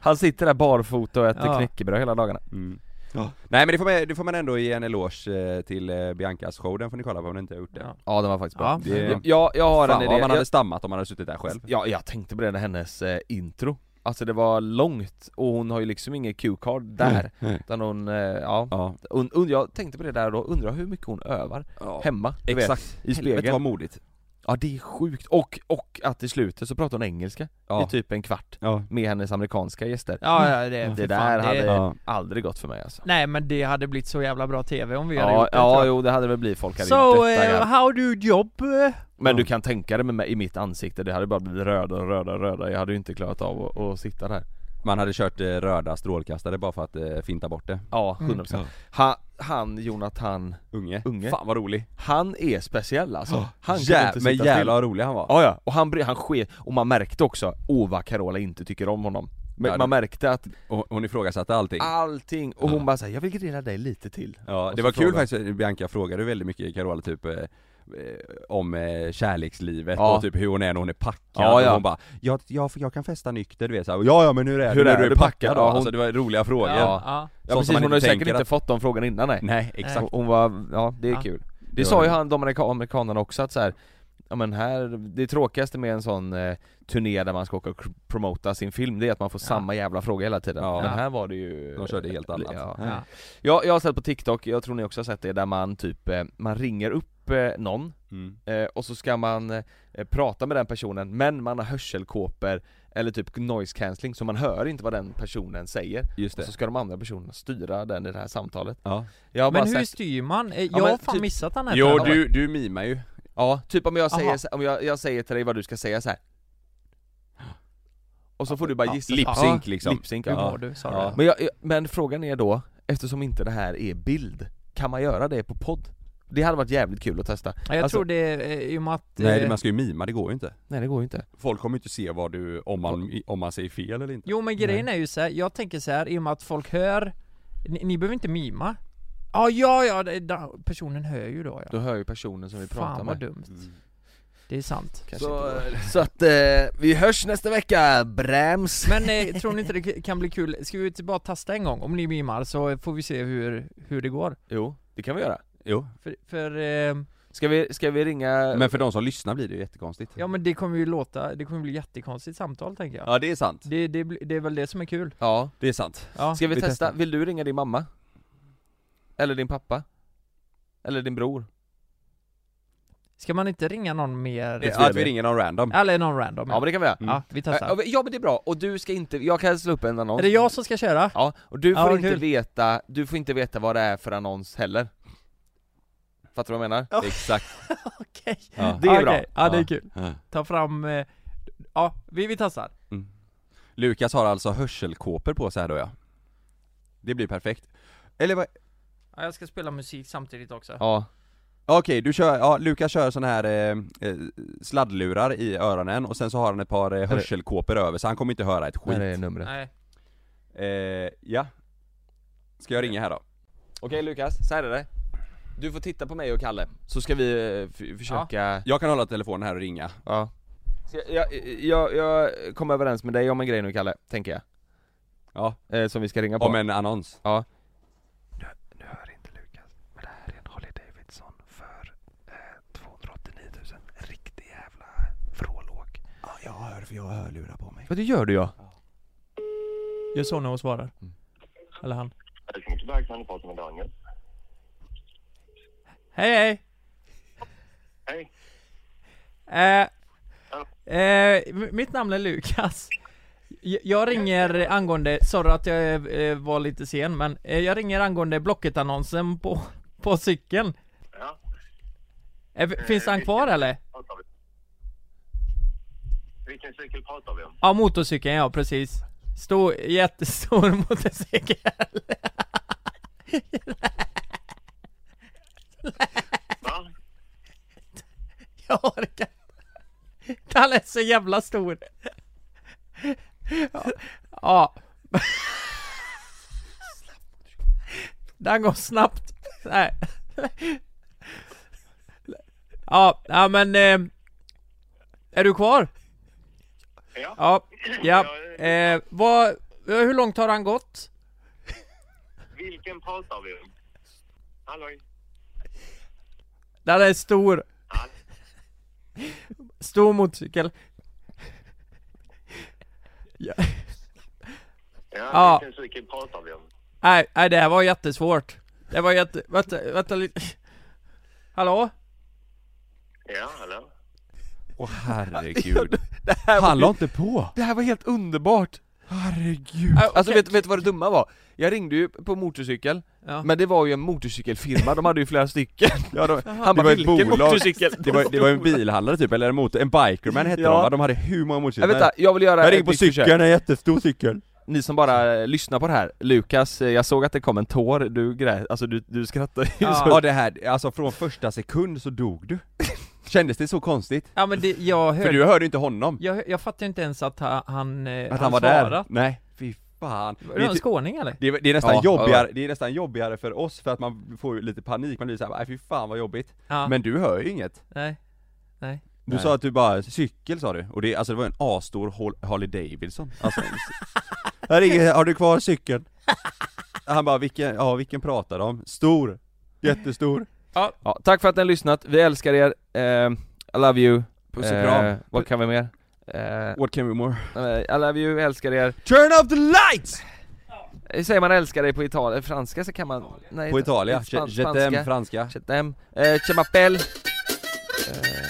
Han sitter där barfota och äter Ja. knäckebröd hela dagarna mm. Nej men det får, man, det får man ändå ge en eloge eh, till eh, Biancas show, den får ni kolla på om ni inte har gjort det Ja. Ja, den var faktiskt bra Ja. Det- Ja, jag, jag har Fan en vad idé man jag, hade stammat om man hade suttit där själv Ja, jag tänkte på det när hennes eh, intro Alltså det var långt och hon har ju liksom ingen cue-card Mm, där Utan hon, eh, ja Ja, und, und, Jag tänkte på det där då, undrar hur mycket hon övar hemma, du vet, Exakt, i helvete vad spegeln modigt Ja det är sjukt, och, och att i slutet så pratar hon engelska Ja. i typ en kvart Ja, med hennes amerikanska gäster Ja, ja, det, Det för där fan, hade- det, ja. Aldrig gått för mig alltså Nej men det hade blivit så jävla bra TV om vi hade Ja, gjort det ja tror jag. jo det hade väl blivit folk hade So, gjort detta, uh, ja. how do you job? eh? Men du kan tänka dig med mig, i mitt ansikte, det hade bara blivit röda och röda och röda Jag hade ju inte klarat av att, att sitta där Man hade kört eh, röda strålkastare bara för att eh, finta bort det Ja, 100% Mm. ha, Han, Jonathan, Unge, Unge. fan vad rolig! han är speciell alltså Han kan Jä- inte men sitta jävlar still vad rolig han var! Ja, ja, och han, bry- han sker, och man märkte också, åh vad Carola inte tycker om honom men Ja, det- Man märkte att Och hon ifrågasatte allting allting, och hon Ja. bara såhär 'Jag vill grilla dig lite till' Ja, Och det så var kul frågade- faktiskt, Bianca frågade väldigt mycket Carola typ eh, eh, om eh, kärlekslivet Ja. och typ hur hon är när hon är packad Ja, ja. och hon bara jag, jag, jag kan festa nykter du vet såhär, ja ja men hur är det när du är packad då? Ja, hon- Alltså det var roliga frågor Ja, ja. Ja Sånt som precis, man hon har ju inte säkert tänker inte att- fått de frågorna innan nej, Nej exakt Hon var, ja det är Ja. kul Det, Det var sa ju det. han, de amerika- amerikanerna också att så här, Ja men här, det tråkigaste med en sån eh, turné där man ska åka och pr- promota sin film, det är att man får Ja. samma jävla fråga hela tiden Ja. Men här var det ju De körde helt annat. ja. Ja. Jag, jag har sett på TikTok, jag tror ni också har sett det, där man typ, eh, man ringer upp eh, någon mm. eh, och så ska man eh, prata med den personen men man har hörselkåpor eller typ noise cancelling så man hör inte vad den personen säger Just och det så ska de andra personerna styra den i det här samtalet ja. Jag har bara Men hur sett, styr man? Eh, Ja, Jag men har fan typ- missat den här Jo tävlingen. du, du mimar ju ja, typ om jag säger, Aha. så- om jag, jag säger till dig vad du ska säga så här. Och så får du bara Ja, gissa lip Ja, sync liksom. lip-sync, Hur ja. mår du? Sa Ja. du? Men, jag, jag- men frågan är då, eftersom inte det här är bild, kan man göra det på podd? Det hade varit jävligt kul att testa Ja, Jag Alltså- tror det är i och med att... Nej eh, man ska ju mima, det går ju inte Nej det går ju inte Folk kommer ju inte se vad du, om man, om man säger fel eller inte Jo men grejen är ju så här, jag tänker så här i och med att folk hör, ni, ni behöver inte mima. Ah, ja, ja, det, da, personen hör ju då ja. Då hör ju personen som vi pratar Fan vad med Mm. dumt. Det är sant. så, så att eh, vi hörs nästa vecka, Brams! Men eh, tror ni inte det k- kan bli kul? Ska vi inte bara testa en gång? Om ni mimar så får vi se hur, hur det går. Jo, det kan vi göra Jo, För, för eh, Ska vi, ska vi ringa... men för de som lyssnar blir det ju jättekonstigt ja men det kommer ju låta, det kommer bli jättekonstigt samtal tänker jag. Ja, det är sant, Det, det, bli- det är väl det som är kul. Ja, det är sant Ja. ska vi, vi testa? testar. Vill du ringa din mamma? Eller din pappa? Eller din bror? Ska man inte ringa någon mer? Det tror jag Att vi det. ringer någon random Eller någon random. Ja men det kan vi göra Mm. Ja, vi Eh, testar. Ja men det är bra, och du ska inte, jag kan slå upp en annons Är det jag som ska köra? Ja, och du får Ja, inte kul. veta, du får inte veta vad det är för annons heller Fattar du vad jag menar? Ja. Exakt Okej. Ja. Det är Ja, bra. okej. Ja, det är Ja. kul. Ta fram, eh, ja, vi, vi testar. Lukas har alltså hörselkåpor på sig här då ja Det blir perfekt Eller vad, Ja, jag ska spela musik samtidigt också. Ja, Ja, Okej, du kör, ja Lukas kör sån här eh, eh, sladdlurar i öronen och sen så har han ett par eh, hörselkåpor över så han kommer inte höra ett Här skit. är numret. Nej. Eh, ja. Ska jag ringa här då? Okej Lukas, så här är det. Du får titta på mig och Kalle, så ska vi eh, f- försöka... Jag kan hålla telefonen här och ringa. Ja. Så jag, jag, jag, jag kom överens med dig om en grej nu Kalle, tänker jag. Ja, Eh, som vi ska ringa på. om en annons. Nu hör inte Lukas, men det här är en Harley Davidson för eh, 289 000. En riktig jävla vrålåk. Ja, jag hör för jag har hörlurar på mig. Ja det gör du ja. Gör så när hon svarar. Mm. Eller han. Välkommen till Bergsman, du pratar med Daniel. Hej hej! Hej. Eh, eh, m- mitt namn är Lukas. J- Jag ringer angående, sorry att jag eh, var lite sen men, eh, jag ringer angående Blocket-annonsen på, på cykeln. Ja, Eh, f- finns han kvar eller? pratar vi. Vilken cykel pratar vi om? Ja, motorcykeln ja, precis. Stor, jättestor motorcykel. Va? Jag orkar Han är så jävla stor. Ja. ja. Den går snabbt. Nej. Ja, ja men... Eh, är du kvar? Ja. Ja. ja. Eh, vad, hur långt har han gått? Vilken pratar vi om? Halloj? Den är stor. Hallå? Stor motorcykel. Ja, Ja. vilken cykel pratar vi om? Nej, nej det här var jättesvårt. Det var jätte... Vänta, vänta lite. Hallå? Ja, hallå? Åh herregud. Det här, Han la var, inte på! det här var helt underbart! Herregud. Ah, Alltså okej. vet, vet du vad det dumma var? Jag ringde ju på motorcykel, Ja. men det var ju en motorcykelfirma, de hade ju flera stycken Ja, de, Han det bara var ett 'Vilken bolag. motorcykel?' Det var, det var en bilhandlare typ, eller en motor, en bikerman hette Ja. de va? De hade hur många Jag motorcyklar? vet inte, jag vill göra jag ett ringer på nytt försök. cykeln, en jättestor cykel! Ni som bara eh, lyssnar på det här, Lukas, eh, jag såg att det kom en tår, du grät, alltså du, du skrattade ju Ja. så Ja det här, alltså från första sekund så dog du Kändes det så konstigt? ja men det, jag För hörde... du hörde ju inte honom, Jag, jag fattar inte ens att ha- han... eh, att han var där svarat. Nej, fy fan Var Det det är en ty- skåning eller? det är, det, är nästan Ja, jobbigare, det är nästan jobbigare för oss för att man får ju lite panik, man blir såhär 'Nej fy fan vad jobbigt' Ja. Men du hör ju inget Nej. Du Nej. sa att du bara, cykel sa du, och det, alltså det var en asstor Hol- Harley Davidson alltså, Jag ringer, har du kvar cykeln? Han bara, vilken, ja vilken pratar de om? Stor, jättestor ja, Tack för att ni har lyssnat, vi älskar er, eh, I love you Puss och kram, eh, Vad kan vi mer? Eh, what can we more? I love you, älskar er Turn off the lights! Hur säger man älskar dig på itali- franska så kan man... Nej, På Italia, span- je t'aime franska Chetem, eh, Chemapel eh,